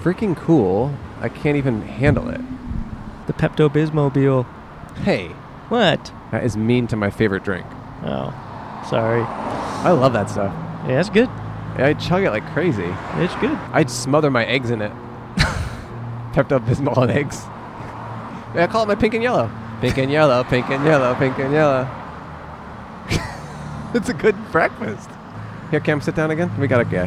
E: freaking cool. I can't even handle it.
B: The Pepto Bismobile.
E: Hey.
B: What?
E: That is mean to my favorite drink.
B: Oh, sorry.
E: I love that stuff.
B: Yeah, it's good.
E: I chug it like crazy.
B: It's good.
E: I'd smother my eggs <laughs> in it. Pepto Bismol and eggs. Yeah, I call it my pink and yellow. Pink and yellow, pink and yellow, pink and yellow. <laughs> it's a good breakfast. Here, Cam, sit down again. We got a guy.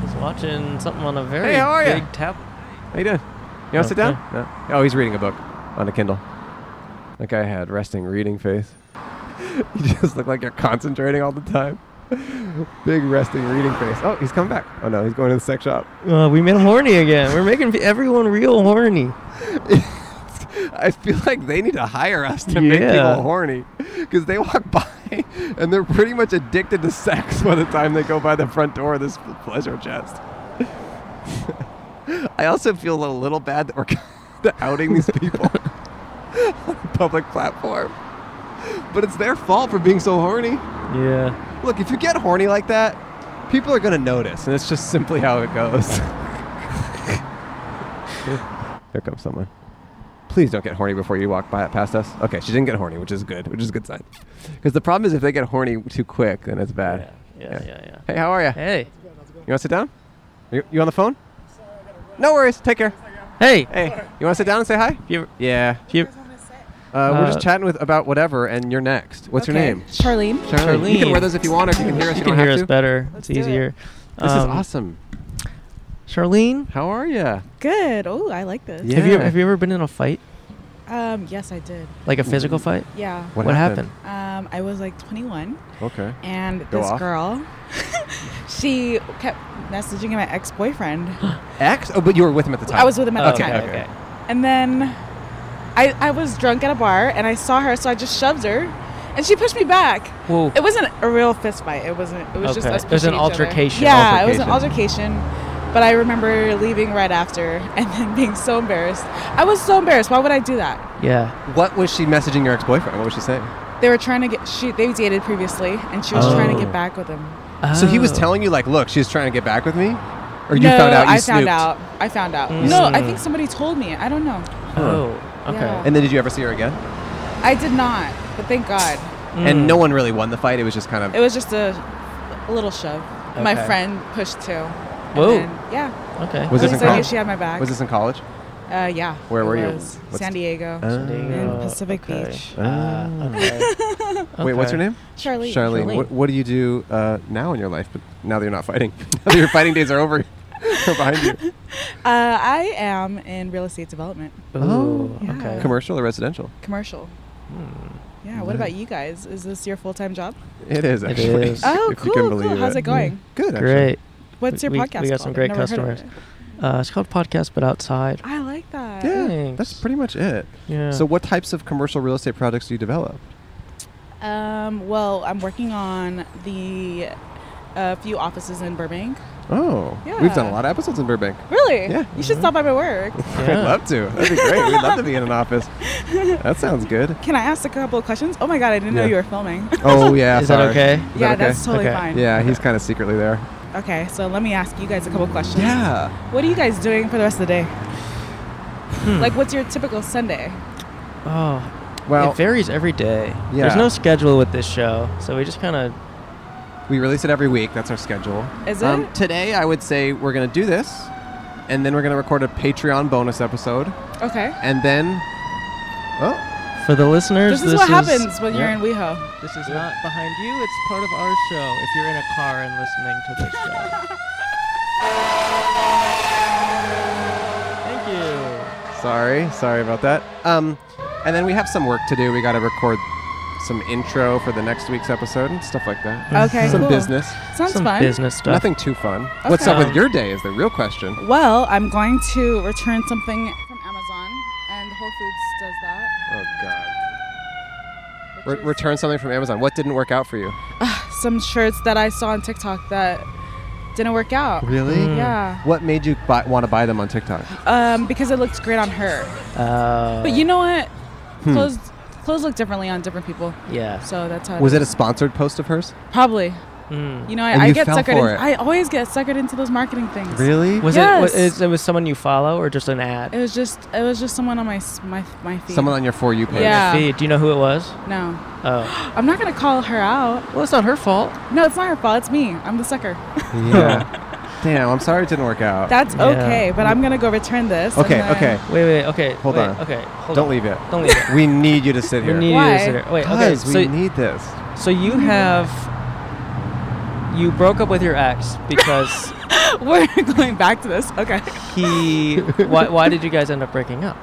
B: He's watching something on a very
E: Hey, how are ya?
B: big tablet.
E: How you doing? You want to sit
B: Okay.
E: down? No. Oh, he's reading a book on a Kindle. That guy had resting reading face. <laughs> you just look like you're concentrating all the time. <laughs> Big resting reading face. Oh, he's coming back. Oh no, he's going to the sex shop.
B: Uh, we made him horny again. We're making everyone real horny.
E: <laughs> I feel like they need to hire us to make
B: Yeah.
E: people horny because they walk by and they're pretty much addicted to sex <laughs> by the time they go by the front door of this pleasure chest. <laughs> I also feel a little bad that we're <laughs> kinda outing these people <laughs> on a public platform, but it's their fault for being so horny.
B: Yeah.
E: Look, if you get horny like that, people are going to notice, and it's just simply how it
B: <laughs>
E: goes. Here comes someone. Please don't get horny before you walk by past us. Okay, she didn't get horny, which is good, which is a good sign. Because the problem is if they get horny too quick, then it's bad.
B: Yeah, yeah, yeah.
E: Hey, how are you?
B: Hey.
E: You want to sit down? You, you on the phone? No worries. Take care.
B: Hey.
E: Hey. You want to sit down and say hi? yeah. uh, we're just
B: Uh,
E: chatting with about whatever, and you're next. What's your
L: Okay.
E: name?
L: Charlene.
E: Charlene. You can wear those if you want, or if you can hear us. You,
B: You can
E: don't have
B: hear us
E: to.
B: better. it's
L: do it.
B: easier.
E: This is
B: Um,
E: awesome.
B: Charlene,
E: How are you?
L: Good. Oh, I like this.
B: have you
E: Yeah.
B: have you ever been in a fight,
L: Um, yes, I did.
B: like a physical fight?
L: Yeah.
B: What, happened?
L: Um, I was like 21,
E: Okay.
L: and
B: Go
L: this
B: off.
L: girl, <laughs> she kept messaging my
B: <gasps>
L: ex-boyfriend.
E: X? Oh, but you were with him at the time.
L: I was with him at the
E: Okay,
L: time.
E: okay.
L: And then I, I was drunk at a bar, and I saw her, so I just shoved her, and she pushed me back.
B: Whoa.
L: It wasn't a real fist fight. It wasn't. It was just
B: Okay.
L: us
B: It was an
L: pushing each other.
B: altercation.
L: Yeah, it was an
B: Altercation.
L: altercation. But I remember leaving right after, <laughs> and then being so embarrassed. I was so embarrassed. Why would I do that?
B: Yeah.
E: What was she messaging your ex-boyfriend? What was she saying?
L: They were trying to get. She they dated previously, and she was trying to
E: Oh.
L: get back with him.
E: So he was
L: Oh.
E: telling you like, look, she's trying to get back with me, or you
L: no,
E: found out you
L: I
E: snooped. Mm.
L: found out. I found out.
E: You
L: No, I
E: snooped.
L: think somebody told me. I don't know.
E: Huh.
B: Oh.
L: okay. Yeah.
E: And then did you ever see her again?
L: I did not. But thank God.
B: Mm.
E: And no one really won the fight. It was just kind of.
L: It was just a, a little shove. My
E: Okay.
L: friend pushed too. And
E: Whoa.
L: then- yeah.
E: Was
L: I
E: this in
L: was like,
E: college?
L: she had my back.
E: Was this in college?
L: Uh, yeah.
E: Where
L: it
E: were you?
L: was.
E: What's-
L: San Diego.
B: Oh,
E: Ah.
L: San Diego. In Pacific
B: okay.
L: Beach.
B: Ah, okay.
E: Wait, what's
B: Okay.
E: your name?
L: Charlene.
E: Charlene.
L: Charlene.
E: What, what do you do uh, now in your life? But now that you're not fighting, <laughs> now that your fighting days are over, <laughs> they're behind you.
L: Uh, I am in real estate development.
E: Oh,
L: Yeah.
E: Commercial or residential?
L: Commercial.
E: Hmm,
L: Yeah. What about you guys? Is this your full time job?
E: It is
B: It
E: actually.
B: is.
L: Oh,
E: <laughs> if you
L: cool,
E: can
L: cool.
E: believe Mm.
L: How's it going?
E: Good. actually.
B: Great.
L: What's your
B: We-
L: podcast
B: We got some
L: called?
B: great
L: I've never heard of
B: customers. Uh, it's called Podcast But Outside.
L: I like that.
E: Yeah, that's pretty much it.
B: Yeah.
E: So, what types of commercial real estate products do you develop?
L: Um, well, I'm working on the uh, few offices in Burbank.
E: Oh, we've done a lot of episodes in Burbank.
L: Really?
E: Yeah.
L: You should stop by my work.
E: <laughs> I'd love to. That'd be great. We'd love to be in an office. That sounds good.
L: Can I ask a couple of questions? Oh my god, I didn't know
E: Yeah.
L: you were filming.
E: Oh yeah.
B: Is that
E: sorry.
B: okay?
E: Is
L: Yeah,
E: that okay?
L: that's totally Okay. fine.
E: Yeah, he's kind of secretly there.
L: okay, so let me ask you guys a couple of questions.
E: Yeah.
L: What are you guys doing for the rest of the day?
B: Hmm.
L: Like, what's your typical Sunday?
B: Oh,
E: Well-
B: it varies every day.
E: Yeah.
B: There's no schedule with this show, so we just kind of
E: We release it every week. That's our schedule. Um,
L: Is it?
E: today, I would say we're going to do this, and then we're going to record a Patreon bonus episode.
L: Okay.
E: And then, well,
B: for the listeners,
L: This is what happens when you're in WeHo.
B: This is not behind you. It's part of our show. If you're in a car and listening to this show, thank you.
E: Sorry, sorry about that. Um, and then we have some work to do. We got to record some intro for the next week's episode and stuff like that.
L: Okay,
E: Some
L: cool.
E: business.
L: Sounds Some fun. business stuff.
E: Nothing too fun. What's up
L: Okay.
E: with your day is the real question.
L: Well, I'm going to return something from Amazon, and Whole Foods does that.
E: Oh God. Re- return something from Amazon. What didn't work out for you?
L: Some shirts that I saw on TikTok that didn't work out.
B: Hmm.
L: Yeah.
E: What made you buy, want to buy them on TikTok?
L: Um, because it looked great on her.
E: Uh,
L: But you know what?
E: Hmm.
L: Clothes clothes look differently on different people.
E: Yeah.
L: So that's how.
E: was it a
L: is.
E: sponsored post of hers?
L: Probably.
B: Hmm.
L: You know,
E: And
L: I, I
E: you
L: get
E: fell
L: suckered.
E: for
L: in-
E: it.
L: I always get suckered into those marketing things.
B: Was it? Was,
L: yes.
B: is, it was someone you follow, or just an ad?
L: It was just it was just someone on my s- my my feed.
E: for you
B: page.
L: Yeah.
B: Feed. Do you know who it was?
L: No.
B: Oh.
L: I'm not gonna call her out.
B: Well, it's not her fault.
L: No, it's not her fault. It's me. I'm the sucker.
E: Yeah. <laughs> Damn, I'm sorry it didn't work out.
L: That's okay, but I'm gonna go return this. and
E: Okay,
L: then-
E: okay.
B: Wait, wait, okay.
E: Hold
B: wait,
E: on.
B: okay, hold
E: Don't
B: on.
E: leave it.
B: Don't leave it.
E: we need you to sit here.
B: We need
L: Why?
B: you to sit here. Wait, okay.
E: Guys, we need this.
B: So you have you broke up with your ex because
L: <laughs> We're <laughs> going back to this. Okay.
B: he. Why, why did you guys end up breaking up?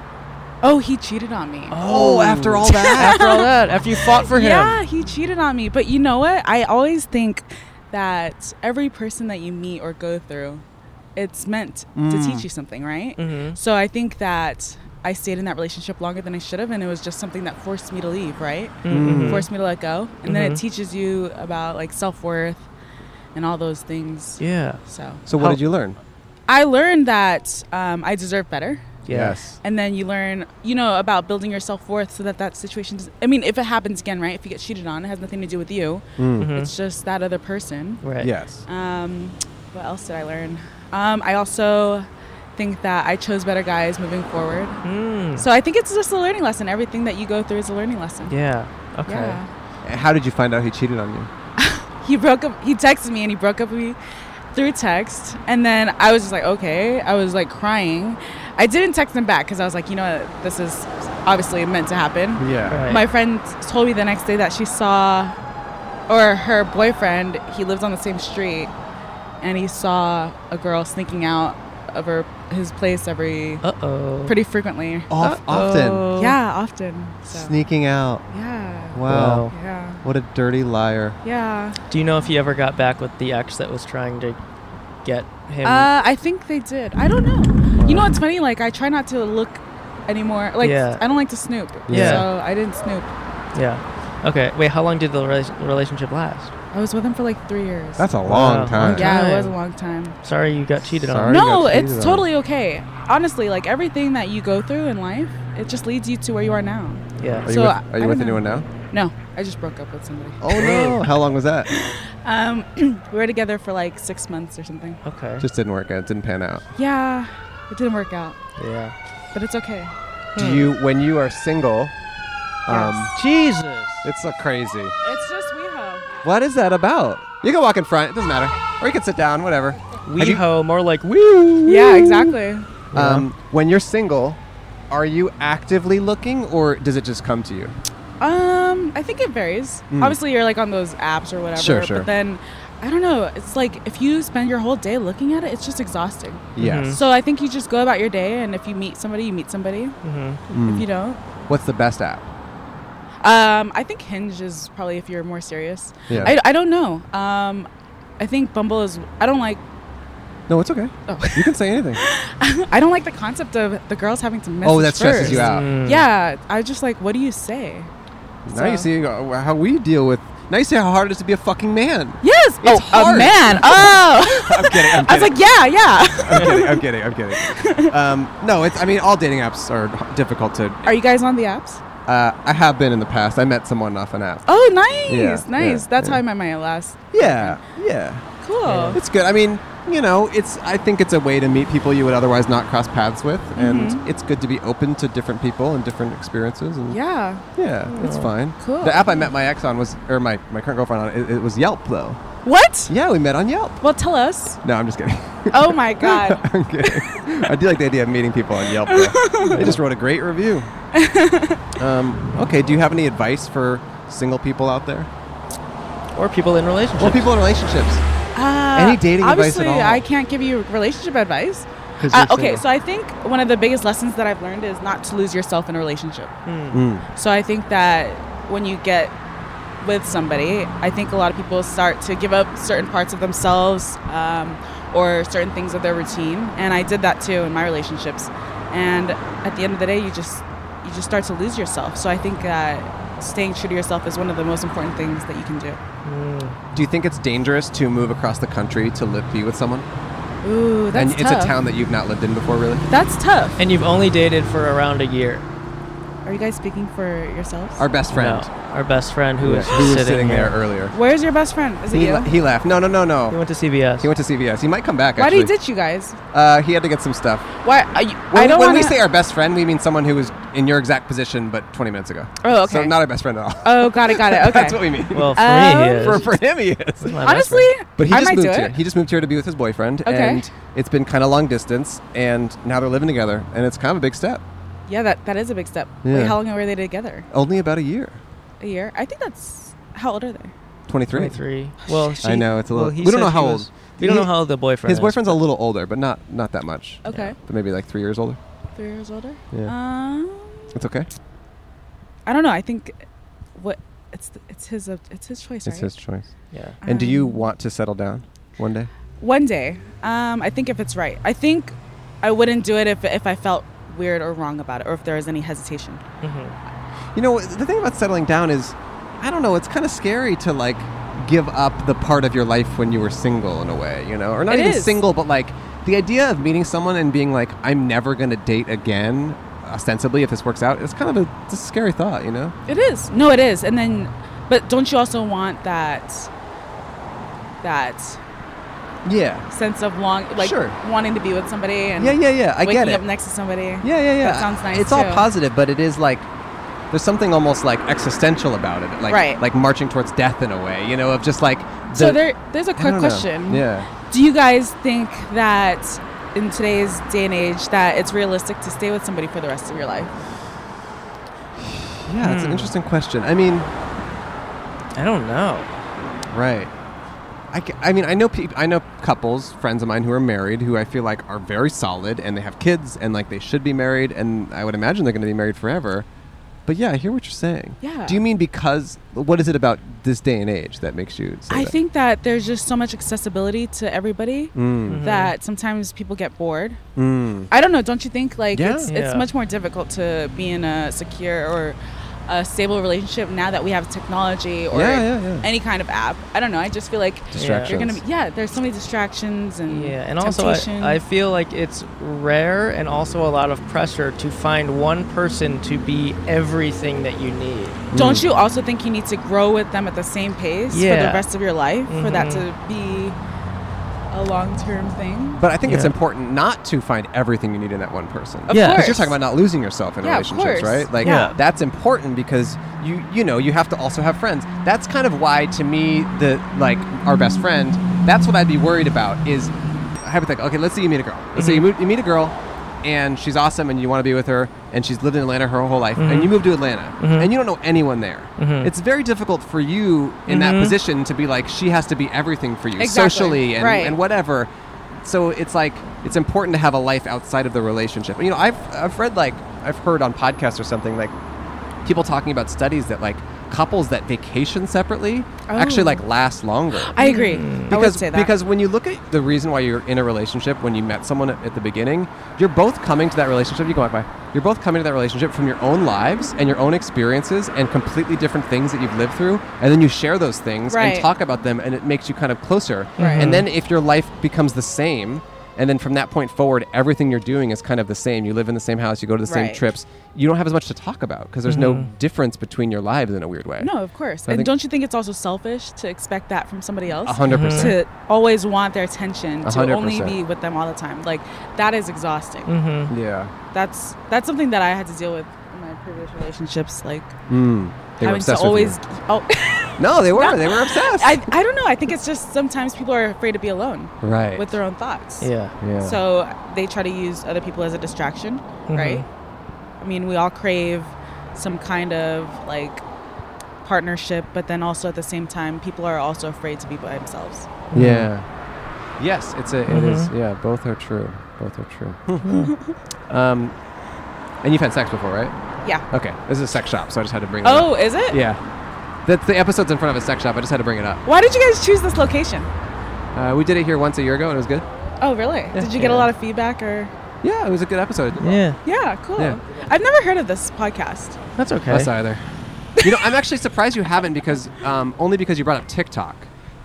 L: Oh, he cheated on me.
B: Oh, after all
C: <laughs>
B: that? After all that, after you fought for him.
L: Yeah, he cheated on me. But you know what? I always think that every person that you meet or go through, it's meant to
B: Mm.
L: teach you something, right?
B: Mhm.
L: So I think that I stayed in that relationship longer than I should have, and it was just something that forced me to leave, right?
B: Mhm.
L: Forced me to let go, and then it
B: Mhm.
L: teaches you about like self worth and all those things. So.
E: So what did you learn?
L: I learned that um, I deserve better.
E: Yeah. Yes.
L: And then you learn, you know, about building your self worth so that that situation doesn't. I mean, if it happens again, right? If you get cheated on, it has nothing to do with you.
E: Mm. Mhm.
L: It's just that other person.
E: Right. Yes.
L: Um, what else did I learn? Um, I also think that I chose better guys moving forward.
B: Mm. Hmm.
L: So I think it's just a learning lesson. Everything that you go through is a learning lesson. Yeah.
E: How did you find out he cheated on you?
L: he broke up he texted me and he broke up with me through text and then i was just like okay i was like crying i didn't text him back because i was like you know what this is obviously meant to
E: Hmm.
L: happen
E: Oh, Yeah. Right.
L: my friend told me the next day that she saw or her boyfriend he lives on the same street and he saw a girl sneaking out of her his place every
B: uh-oh
L: pretty frequently
E: Of- often.
L: yeah often so.
E: Sneaking out.
L: Yeah.
E: Wow.
B: Wow.
L: Yeah.
E: What a dirty liar.
L: yeah
B: Do you know if you ever got back with the ex that was trying to get him?
L: Uh, I think they did. I don't know. You know what's funny? Like I try not to look anymore. Like
B: Yeah.
L: I don't like to snoop.
B: Yeah.
L: So I didn't snoop.
B: yeah. Okay. Wait. How long did the rela- relationship last?
L: I was with him for like three years.
E: That's a long time.
L: Yeah, it was a long time.
B: Sorry, you got cheated
E: Sorry
B: on.
E: you got
L: no,
E: cheated
L: it's
E: on.
L: totally okay. Honestly, like everything that you go through in life, it just leads you to where you are now.
E: Yeah. Are you
L: So
E: with-
L: I-
E: are you
L: I don't
E: with
L: know.
E: anyone now?
L: No, I just broke up with somebody.
E: Oh <gasps> no. How long was that?
L: Um, <clears throat> we were together for like six months or something.
B: Okay.
E: Just didn't work out. It didn't pan out.
L: Yeah, it didn't work out,
E: Yeah.
L: but it's okay.
E: Do you when you are single? Um,
B: Jesus.
E: It's so crazy.
L: It's just WeHo.
E: What is that about? You can walk in front. It doesn't matter. Or you can sit down. Whatever. Have you-
B: WeHo, more like woo.
L: Yeah, exactly.
E: Um, When you're single, are you actively looking, or does it just come to you?
L: Mm-hmm. Um, I think it varies.
E: Mm.
L: Obviously, you're like on those apps or whatever.
E: Sure, sure.
L: But then, I don't know. It's like if you spend your whole day looking at it, it's just exhausting.
E: Yes. Mhm.
L: So I think you just go about your day, and if you meet somebody, you meet somebody.
E: Mm.
L: If you don't,
E: What's the best app?
L: um, I think Hinge is probably if you're more serious.
E: Yeah.
L: I, I don't know. Um, I think Bumble is. I don't like. <laughs>
E: No, it's okay. Oh. You can say anything.
L: I don't like the concept of the girls having to message.
E: Oh, that stresses
L: first.
E: you out. Mm.
L: Yeah, I just like. What do you say?
E: Now you
L: So-
E: see uh, how we deal with. Now you see how hard it is to be a fucking man.
L: Yes. oh,
E: hard.
L: a man. Oh.
E: uh, <laughs> I'm kidding. I'm
L: I was
E: kidding.
L: like, yeah, yeah. <laughs>
E: I'm kidding. I'm kidding. I'm kidding. Um, no, it's. I mean, all dating apps are h- difficult to.
L: Are you guys on the apps?
E: Uh, I have been in the past. I met someone off an app.
L: Oh, nice,
E: Yeah,
L: nice.
E: yeah,
L: That's
E: yeah.
L: Oh. how I met my last.
E: Yeah. Yeah.
L: Cool.
E: It's good. I mean, you know, it's. I think it's a way to meet people you would otherwise not cross paths with,
L: Mhm.
E: and it's good to be open to different people and different experiences. And
L: Yeah.
E: yeah, it's
L: Oh.
E: fine.
L: Cool.
E: The app I met my ex on was, or my, my current girlfriend on, it, it was Yelp though.
L: What?
E: Yeah, we met on Yelp.
L: Well, tell us.
E: No, I'm just kidding.
L: Oh my <laughs> God.
E: I'm kidding. I do like the idea of meeting people on Yelp.
L: <laughs>
E: though. they just wrote a great review. Um, okay, do you have any advice for single people out there?
B: Or people in relationships.
E: Or people in relationships.
L: Uh,
E: <laughs> Any dating advice
L: obviously,
E: at all?
L: I can't give you relationship advice.
E: 'Cause
L: Uh,
E: you're
L: okay,
E: single.
L: so I think one of the biggest lessons that I've learned is not to lose yourself in a relationship.
E: Mm.
L: So I think that when you get with somebody, I think a lot of people start to give up certain parts of themselves um, or certain things of their routine, and I did that too in my relationships. And at the end of the day, you just you just start to lose yourself. So I think that staying true to yourself is one of the most important things that you can do.
E: Do you think it's dangerous to move across the country to live be with someone?
L: Ooh, that's
E: and it's
L: tough.
E: a town that you've not lived in before, really.
L: That's tough.
B: And you've only dated for around a year.
L: Are you guys speaking for yourselves?
E: Our best friend.
B: No, our best friend who
E: Yeah,
B: was
E: who was
B: sitting,
E: sitting there
B: here.
E: earlier.
L: Where's your best friend? Is it
E: He,
L: you?
E: le- he left. No, no, no, no. He
B: went to CVS.
E: He went to CVS. He might come back.
L: Why do
E: actually.
L: you ditch you guys?
E: Uh, he had to get some stuff.
L: Why? Are you,
E: When,
L: I don't
E: when
L: wanna,
E: we say our best friend, we mean someone who was in your exact position, but 20 minutes ago.
L: Oh, okay.
E: So not our best friend at all.
L: Oh, got it,
E: <laughs>
L: got it. Okay.
E: That's what we mean.
B: Well,
L: for me, he Um, is.
E: For, for him, he is.
L: my best Honestly, friend.
E: but he
L: I
E: just
L: might
E: moved
L: do
E: here.
L: it.
E: He just moved here to be with his boyfriend,
L: Okay.
E: and it's been kind of long distance, and now they're living together, and it's kind of a big step.
L: Yeah, that, that is a big step.
E: Yeah.
L: Wait, how long were they together?
E: Only about a year.
L: A year? I think that's. How old are they?
E: 23.
B: 23. Well, she,
E: I know it's a little.
B: Well, he
E: we don't know
B: said
E: how
B: he
E: old.
B: was- we don't know how old the boyfriend
E: His
B: is,
E: boyfriend's a little older, but not not that much.
L: Okay.
E: But maybe like three years older.
L: Three years older?
E: Yeah.
L: Um,
E: It's okay.
L: I don't know. I think what it's it's his uh, it's his choice,
E: It's
L: right?
E: his choice.
B: Yeah.
E: And do you want to settle down one day?
L: One day. Um, I think if it's right. I think I wouldn't do it if if I felt weird or wrong about it, or if there was any hesitation.
E: You know, the thing about settling down is, I don't know. It's kind of scary to like give up the part of your life when you were single in a way. You know, or not
L: It
E: even
L: is.
E: single, but like the idea of meeting someone and being like, I'm never gonna date again. Ostensibly, if this works out, it's kind of a, it's a scary thought. You know.
L: It is. No, it is. And then, but don't you also want that that
E: Yeah.
L: sense of long, like
E: Sure.
L: wanting to be with somebody and
E: Yeah, yeah, yeah. I
L: waking
E: get it.
L: up next to somebody. Yeah,
E: Yeah, yeah, yeah.
L: That sounds nice.
E: It's all
L: too.
E: positive, but it is like there's something almost like existential about it, like
L: Right.
E: like marching towards death in a way, you know, of just like.
L: So
E: the-
L: there, there's a
E: I
L: quick
E: don't know.
L: question.
E: Yeah.
L: Do you guys think that in today's day and age that it's realistic to stay with somebody for the rest of your life?
E: Yeah, it's an
L: Hmm.
E: interesting question. I mean,
B: I don't know.
E: Right. I, ca- I mean, I know peop I know couples, friends of mine who are married, who I feel like are very solid and they have kids and like they should be married, and I would imagine they're going to be married forever. But yeah, I hear what you're saying.
L: Yeah.
E: Do you mean because what is it about this day and age that makes you? Say
L: I
E: that?
L: think that there's just so much accessibility to everybody
E: Mm. Mhm.
L: that sometimes people get bored.
E: Mm.
L: I don't know. Don't you think like
E: Yeah.
L: it's
E: Yeah.
L: it's much more difficult to be in a secure or a stable relationship now that we have technology or
B: Yeah, yeah, yeah.
L: any kind of app. I don't know. I just feel like you're gonna be
B: Distractions.
L: yeah. There's so many distractions and
B: Yeah, and also I, I feel like it's rare and also a lot of pressure to find one person to be everything that you need.
L: Don't you also think you need to grow with them at the same pace for
B: Yeah.
L: the rest of your life for that
B: Mhm.
L: to be a long term
B: Mm.
L: thing?
E: But I think it's
B: Yeah.
E: important not to find everything you need in that one person.
L: Of Yeah.
E: because you're
L: course.
E: talking about not losing yourself in
L: Yeah, of
E: relationships,
L: course.
E: right? Like
L: Yeah.
E: that's important because you you know you have to also have friends. That's kind of why to me the like our best friend. That's what I'd be worried about is hypothetical. Okay, let's say you meet a girl. Let's say
L: Mm-hmm.
E: you, mo- you meet a girl. And she's awesome, and you want to be with her, and she's lived in Atlanta her whole life,
L: Mm-hmm.
B: Mhm.
E: and you move to Atlanta,
B: Mhm.
E: and you don't know anyone there.
B: Mhm.
E: It's very difficult for you in that
L: Mm-hmm.
B: Mhm.
E: position to be like, she has to be everything for you
B: Exactly.
E: socially and,
B: Right.
E: and whatever. So it's like it's important to have a life outside of the relationship. You know, I've I've read like I've heard on podcasts or something like people talking about studies that like couples that vacation separately actually
L: Oh.
E: like last longer.
L: I agree. I would
E: Mm. Because
L: say that.
E: because when you look at the reason why you're in a relationship when you met someone at, at the beginning, you're both coming to that relationship. You go by. You're both coming to that relationship from your own lives and your own experiences and completely different things that you've lived through, and then you share those things
B: Right.
L: Mm-hmm.
E: and talk about them, and it makes you kind of closer.
B: Right.
E: And then if your life becomes the same, And then from that point forward, everything you're doing is kind of the same. You live in the same house, you go to the same
L: Right.
E: trips. You don't have as much to talk about because there's no
L: Mhm.
E: difference between your lives in a weird way.
L: No, of course.
E: So I
L: and
E: think-
L: don't you think it's also selfish to expect that from somebody else?
E: A hundred Mhm. percent.
L: To always want their attention,
E: A
L: to
E: hundred
L: only
E: percent.
L: be with them all the time. Like that is exhausting.
E: Mhm. Yeah.
L: That's that's something that I had to deal with in my previous relationships. Like
E: Mm, they were
L: having to
E: obsessed with
L: always.
E: you.
L: Oh. <laughs>
E: No, they were.
L: Not-
E: They were obsessed.
L: I, I don't know. I think it's just sometimes people are afraid to be alone.
E: Right.
L: With their own thoughts.
E: Yeah. Yeah.
L: So they try to use other people as a distraction,
E: Mhm.
L: right? I mean, we all crave some kind of like partnership, but then also at the same time, people are also afraid to be by themselves.
E: Yeah. Yes, it's a. It is.
L: Mhm.
E: Yeah, both are true. Both are <laughs> true. um, and you've had sex before, right?
L: Yeah.
E: Okay. This is a sex shop, so I just had to bring. it
L: Oh,
E: up.
L: is it?
E: Yeah. That's the episode's in front of a sex shop. I just had to bring it up.
L: Why did you guys choose this location?
E: Uh, we did it here once a year ago, and it was good.
L: Oh, really? did you get a lot of feedback or?
E: Yeah, it was a good episode. Yeah.
L: Yeah, cool.
E: Yeah.
L: I've never heard of this podcast.
B: That's okay.
E: Us either. you know, I'm actually surprised you haven't because um, only because you brought up TikTok,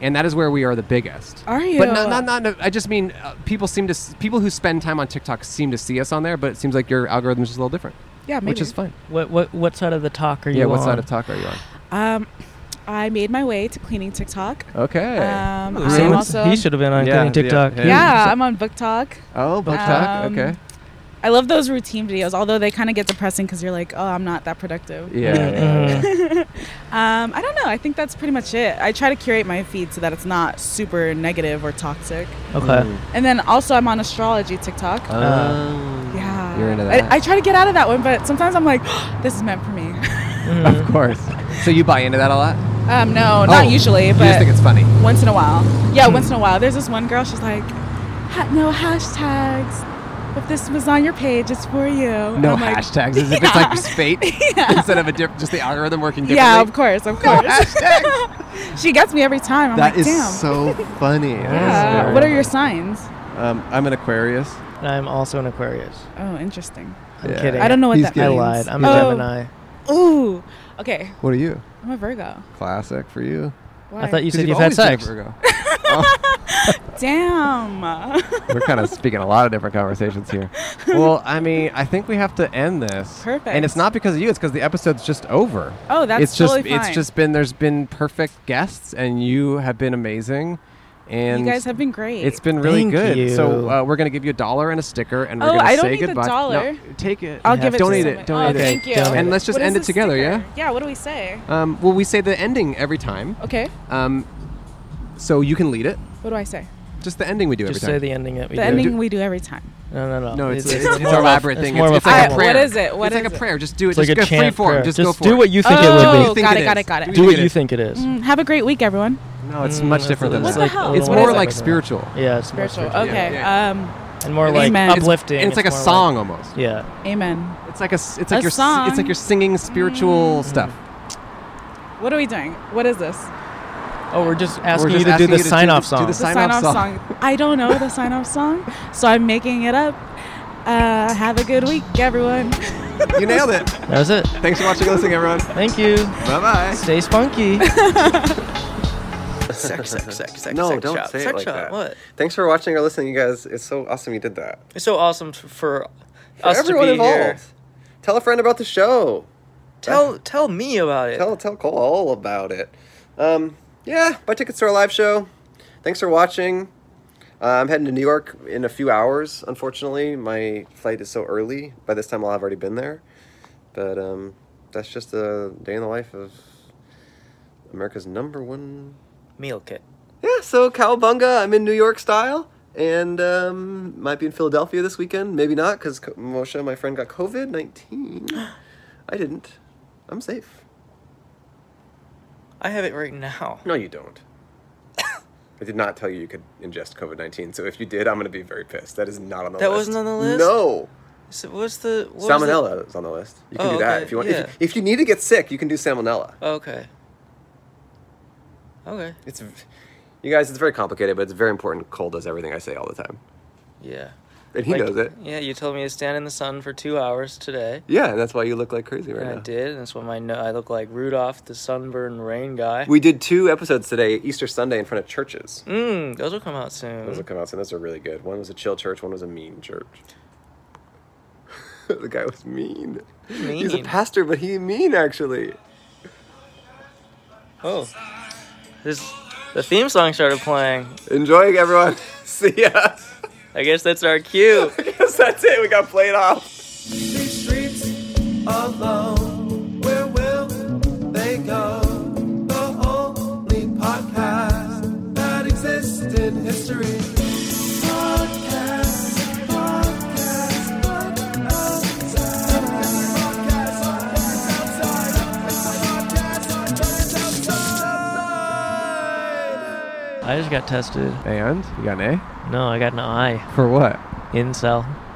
E: and that is where we are the biggest.
L: Are you?
E: But not, not, not. no, I just mean uh, people seem to s- people who spend time on TikTok seem to see us on there, but it seems like your algorithm's just a little different.
L: Yeah,
E: Which is
L: maybe.
E: fine.
B: What what what side of the talk are you
E: yeah.
B: on?
E: What side of talk are you on?
L: Um, I made my way to cleaning TikTok.
E: Okay.
L: Um,
B: Ooh.
L: I'm
B: Someone-
L: also-
B: he should have been on
E: Yeah,
B: Cleaning TikTok.
L: Yeah, I'm on Book Talk.
E: Oh, Book Talk,
L: um,
E: okay.
L: I love those routine videos, although they kind of get depressing because you're like, oh, I'm not that productive.
E: Yeah,
L: <laughs>
E: yeah,
L: um, I don't know. I think that's pretty much it. I try to curate my feed so that it's not super negative or toxic.
B: Okay.
L: And then also, I'm on astrology TikTok.
E: Oh.
L: yeah.
E: You're into that.
L: I, I try to get out of that one, but sometimes I'm like, "Oh, this is meant for me.
E: <laughs>
L: <laughs>
E: of course. So you buy into that a lot?
L: Um, no,
E: Oh,
L: not usually,
E: you
L: but
E: just think it's Hmm. funny.
L: Once in a while, yeah, once in a while. There's this one girl. She's like, ha- no hashtags. If this was on your page, it's for you. And
E: No
L: I'm like,
E: hashtags. As if it's
L: <laughs>
E: like fate instead of a diff- just the algorithm working differently.
L: yeah, of course, of course. <laughs> she gets me every time. I'm
E: That
L: like,
E: is
L: damn. <laughs>
E: so funny. That is
L: yeah.
E: very
L: What are
E: funny.
L: your signs?
E: Um, I'm an Aquarius.
B: I'm also an Aquarius.
L: Oh, interesting.
B: I'm kidding.
L: I don't know what
B: He's
L: that
B: kidding. I
L: means.
B: lied. I'm a
L: Oh.
B: Gemini.
L: Ooh. Okay.
E: What are you?
L: I'm a Virgo.
E: Classic for you.
L: Why? thought you
E: Because
B: said you've
E: always
B: had
E: been a
B: sex.
E: Virgo.
L: Damn. <laughs>
E: We're kind of speaking a lot of different conversations here. Well, I mean, I think we have to end this. And it's
L: Perfect.
E: not because of you; it's because the episode's just over.
L: Oh, that's
E: it's just
L: totally
E: it's
L: fine.
E: just been there's been perfect guests, and you have been amazing. And
L: guys have been great.
E: It's been really
B: Thank
E: good. So
B: you.
E: uh, we're gonna give you a dollar and a sticker, and
L: Oh,
E: we're gonna
L: I don't
E: say
L: need the
E: goodbye.
L: dollar.
E: No, take it.
L: I'll give it to
E: Donate
L: someone.
E: it. Donate
L: Oh,
E: it.
L: thank you.
E: And let's just
L: What is
E: end it
L: this
E: together.
L: sticker?
E: Yeah.
L: Yeah. What do we say?
E: Um, well, we say the ending every time.
L: Okay.
E: Um, so you can lead it.
L: What do I say?
E: Just the ending we do
B: Just
E: every time.
B: say the ending that we
L: the
B: do.
L: ending we do every time.
B: No, no, no.
E: No, it's,
B: It's- <laughs>
E: it's,
B: it's
E: it's,
B: more
E: an
B: of a-
E: elaborate
B: it's
E: thing.
B: more
E: It's,
B: of a
E: it's like a
B: formal-
E: prayer.
L: What is it? What
E: it's like
L: is
E: a
L: it?
E: prayer. Just do it.
B: It's like
E: just
B: a
E: go free
B: chant
E: form.
B: prayer.
E: Just,
B: Just
E: go for
B: do
E: it.
B: what you think it would
L: Oh,
B: be.
L: got it,
E: is.
L: got it, got it.
B: Do what you think it Mm. is.
L: Mm, have a great week, everyone.
E: No, it's much
B: that's
E: different
B: a
E: than
B: little-
E: that.
B: What the hell?
E: It's
B: What
E: more
B: is it?
E: like spiritual.
B: Yeah, it's more
L: Spiritual.
B: spiritual.
L: Okay. Um,
B: And more like
L: Amen.
B: uplifting.
E: And it's like a
B: more
E: song almost.
B: Yeah.
L: Amen.
E: It's like a. s- It's like
L: A
E: you're. s- It's
L: song.
E: like you're singing spiritual stuff.
L: What are we doing? What is this?
B: Oh, we're just asking
E: just
B: you to
E: asking
B: do
E: you to
B: the
E: do
B: sign off
E: the-
B: song.
E: do the sign-off song.
L: I don't know the sign off song, so I'm making it up. Uh, have a good week, everyone.
E: You nailed it.
B: That was it.
E: Thanks for watching and listening, everyone.
B: Thank you.
E: Bye bye.
B: Stay spunky.
M: Sex, sex, sex, sex,
A: no,
M: sex
A: don't
M: shop.
A: say it
M: sex
A: like
M: shop.
A: that.
M: What?
A: Thanks for watching or listening, you guys. It's so awesome you did that.
M: It's so awesome t- for,
A: For
M: us
A: everyone
M: to be
A: involved.
M: here.
A: Tell a friend about the show.
M: Tell tell me about it.
A: Tell tell Cole all about it. Um, yeah, buy tickets to our live show. Thanks for watching. Uh, I'm heading to New York in a few hours. Unfortunately, my flight is so early. By this time, I'll have already been there. But um, that's just a day in the life of America's number one
M: meal kit.
A: Yeah, so cowabunga. I'm in New York style, and um, might be in Philadelphia this weekend. Maybe not, because Moshe, my friend, got COVID nineteen. I didn't. I'm safe.
M: I have it right now.
A: No, you
M: <coughs>
A: don't. I did not tell you you could ingest COVID nineteen. So if you did, I'm gonna be very pissed. That is not on the
M: That
A: list.
M: wasn't on the list?
A: No,
M: So what's the what was the-
A: salmonella is on the list. You can
M: Oh,
A: do that
M: okay,
A: if you want.
M: yeah.
A: If, you, if you need to get sick, you can do salmonella.
M: Okay. Okay.
A: It's, v- you guys, it's very complicated, but it's very important. Cole does everything I say all the time.
M: Yeah.
E: And he
B: Like,
E: knows it.
B: Yeah, you told me to stand in the sun for two hours today.
E: Yeah, and that's why you look like crazy right
B: and I
E: now.
B: did, and that's why my no- I look like Rudolph the sunburned rain guy.
E: We did two episodes today, Easter Sunday, in front of churches.
B: Mm, those will come out soon.
E: Those will come out soon. Those are really good. One was a chill church, one was a mean church. <laughs> the guy was mean. He's a
B: mean.
E: pastor, but he mean actually.
B: Oh, this the theme song started playing.
E: Enjoy, everyone. <laughs> See ya.
B: I guess that's our cue. I
E: guess that's it. We got played off.
N: These streets alone, where will they go? The only podcast that exists in history. Podcast, podcast, podcast outside. Podcast, podcast outside. Podcast, podcast outside.
B: I just got tested.
I: And you got an A?
B: No, I got an I.
I: For what?
B: Incel.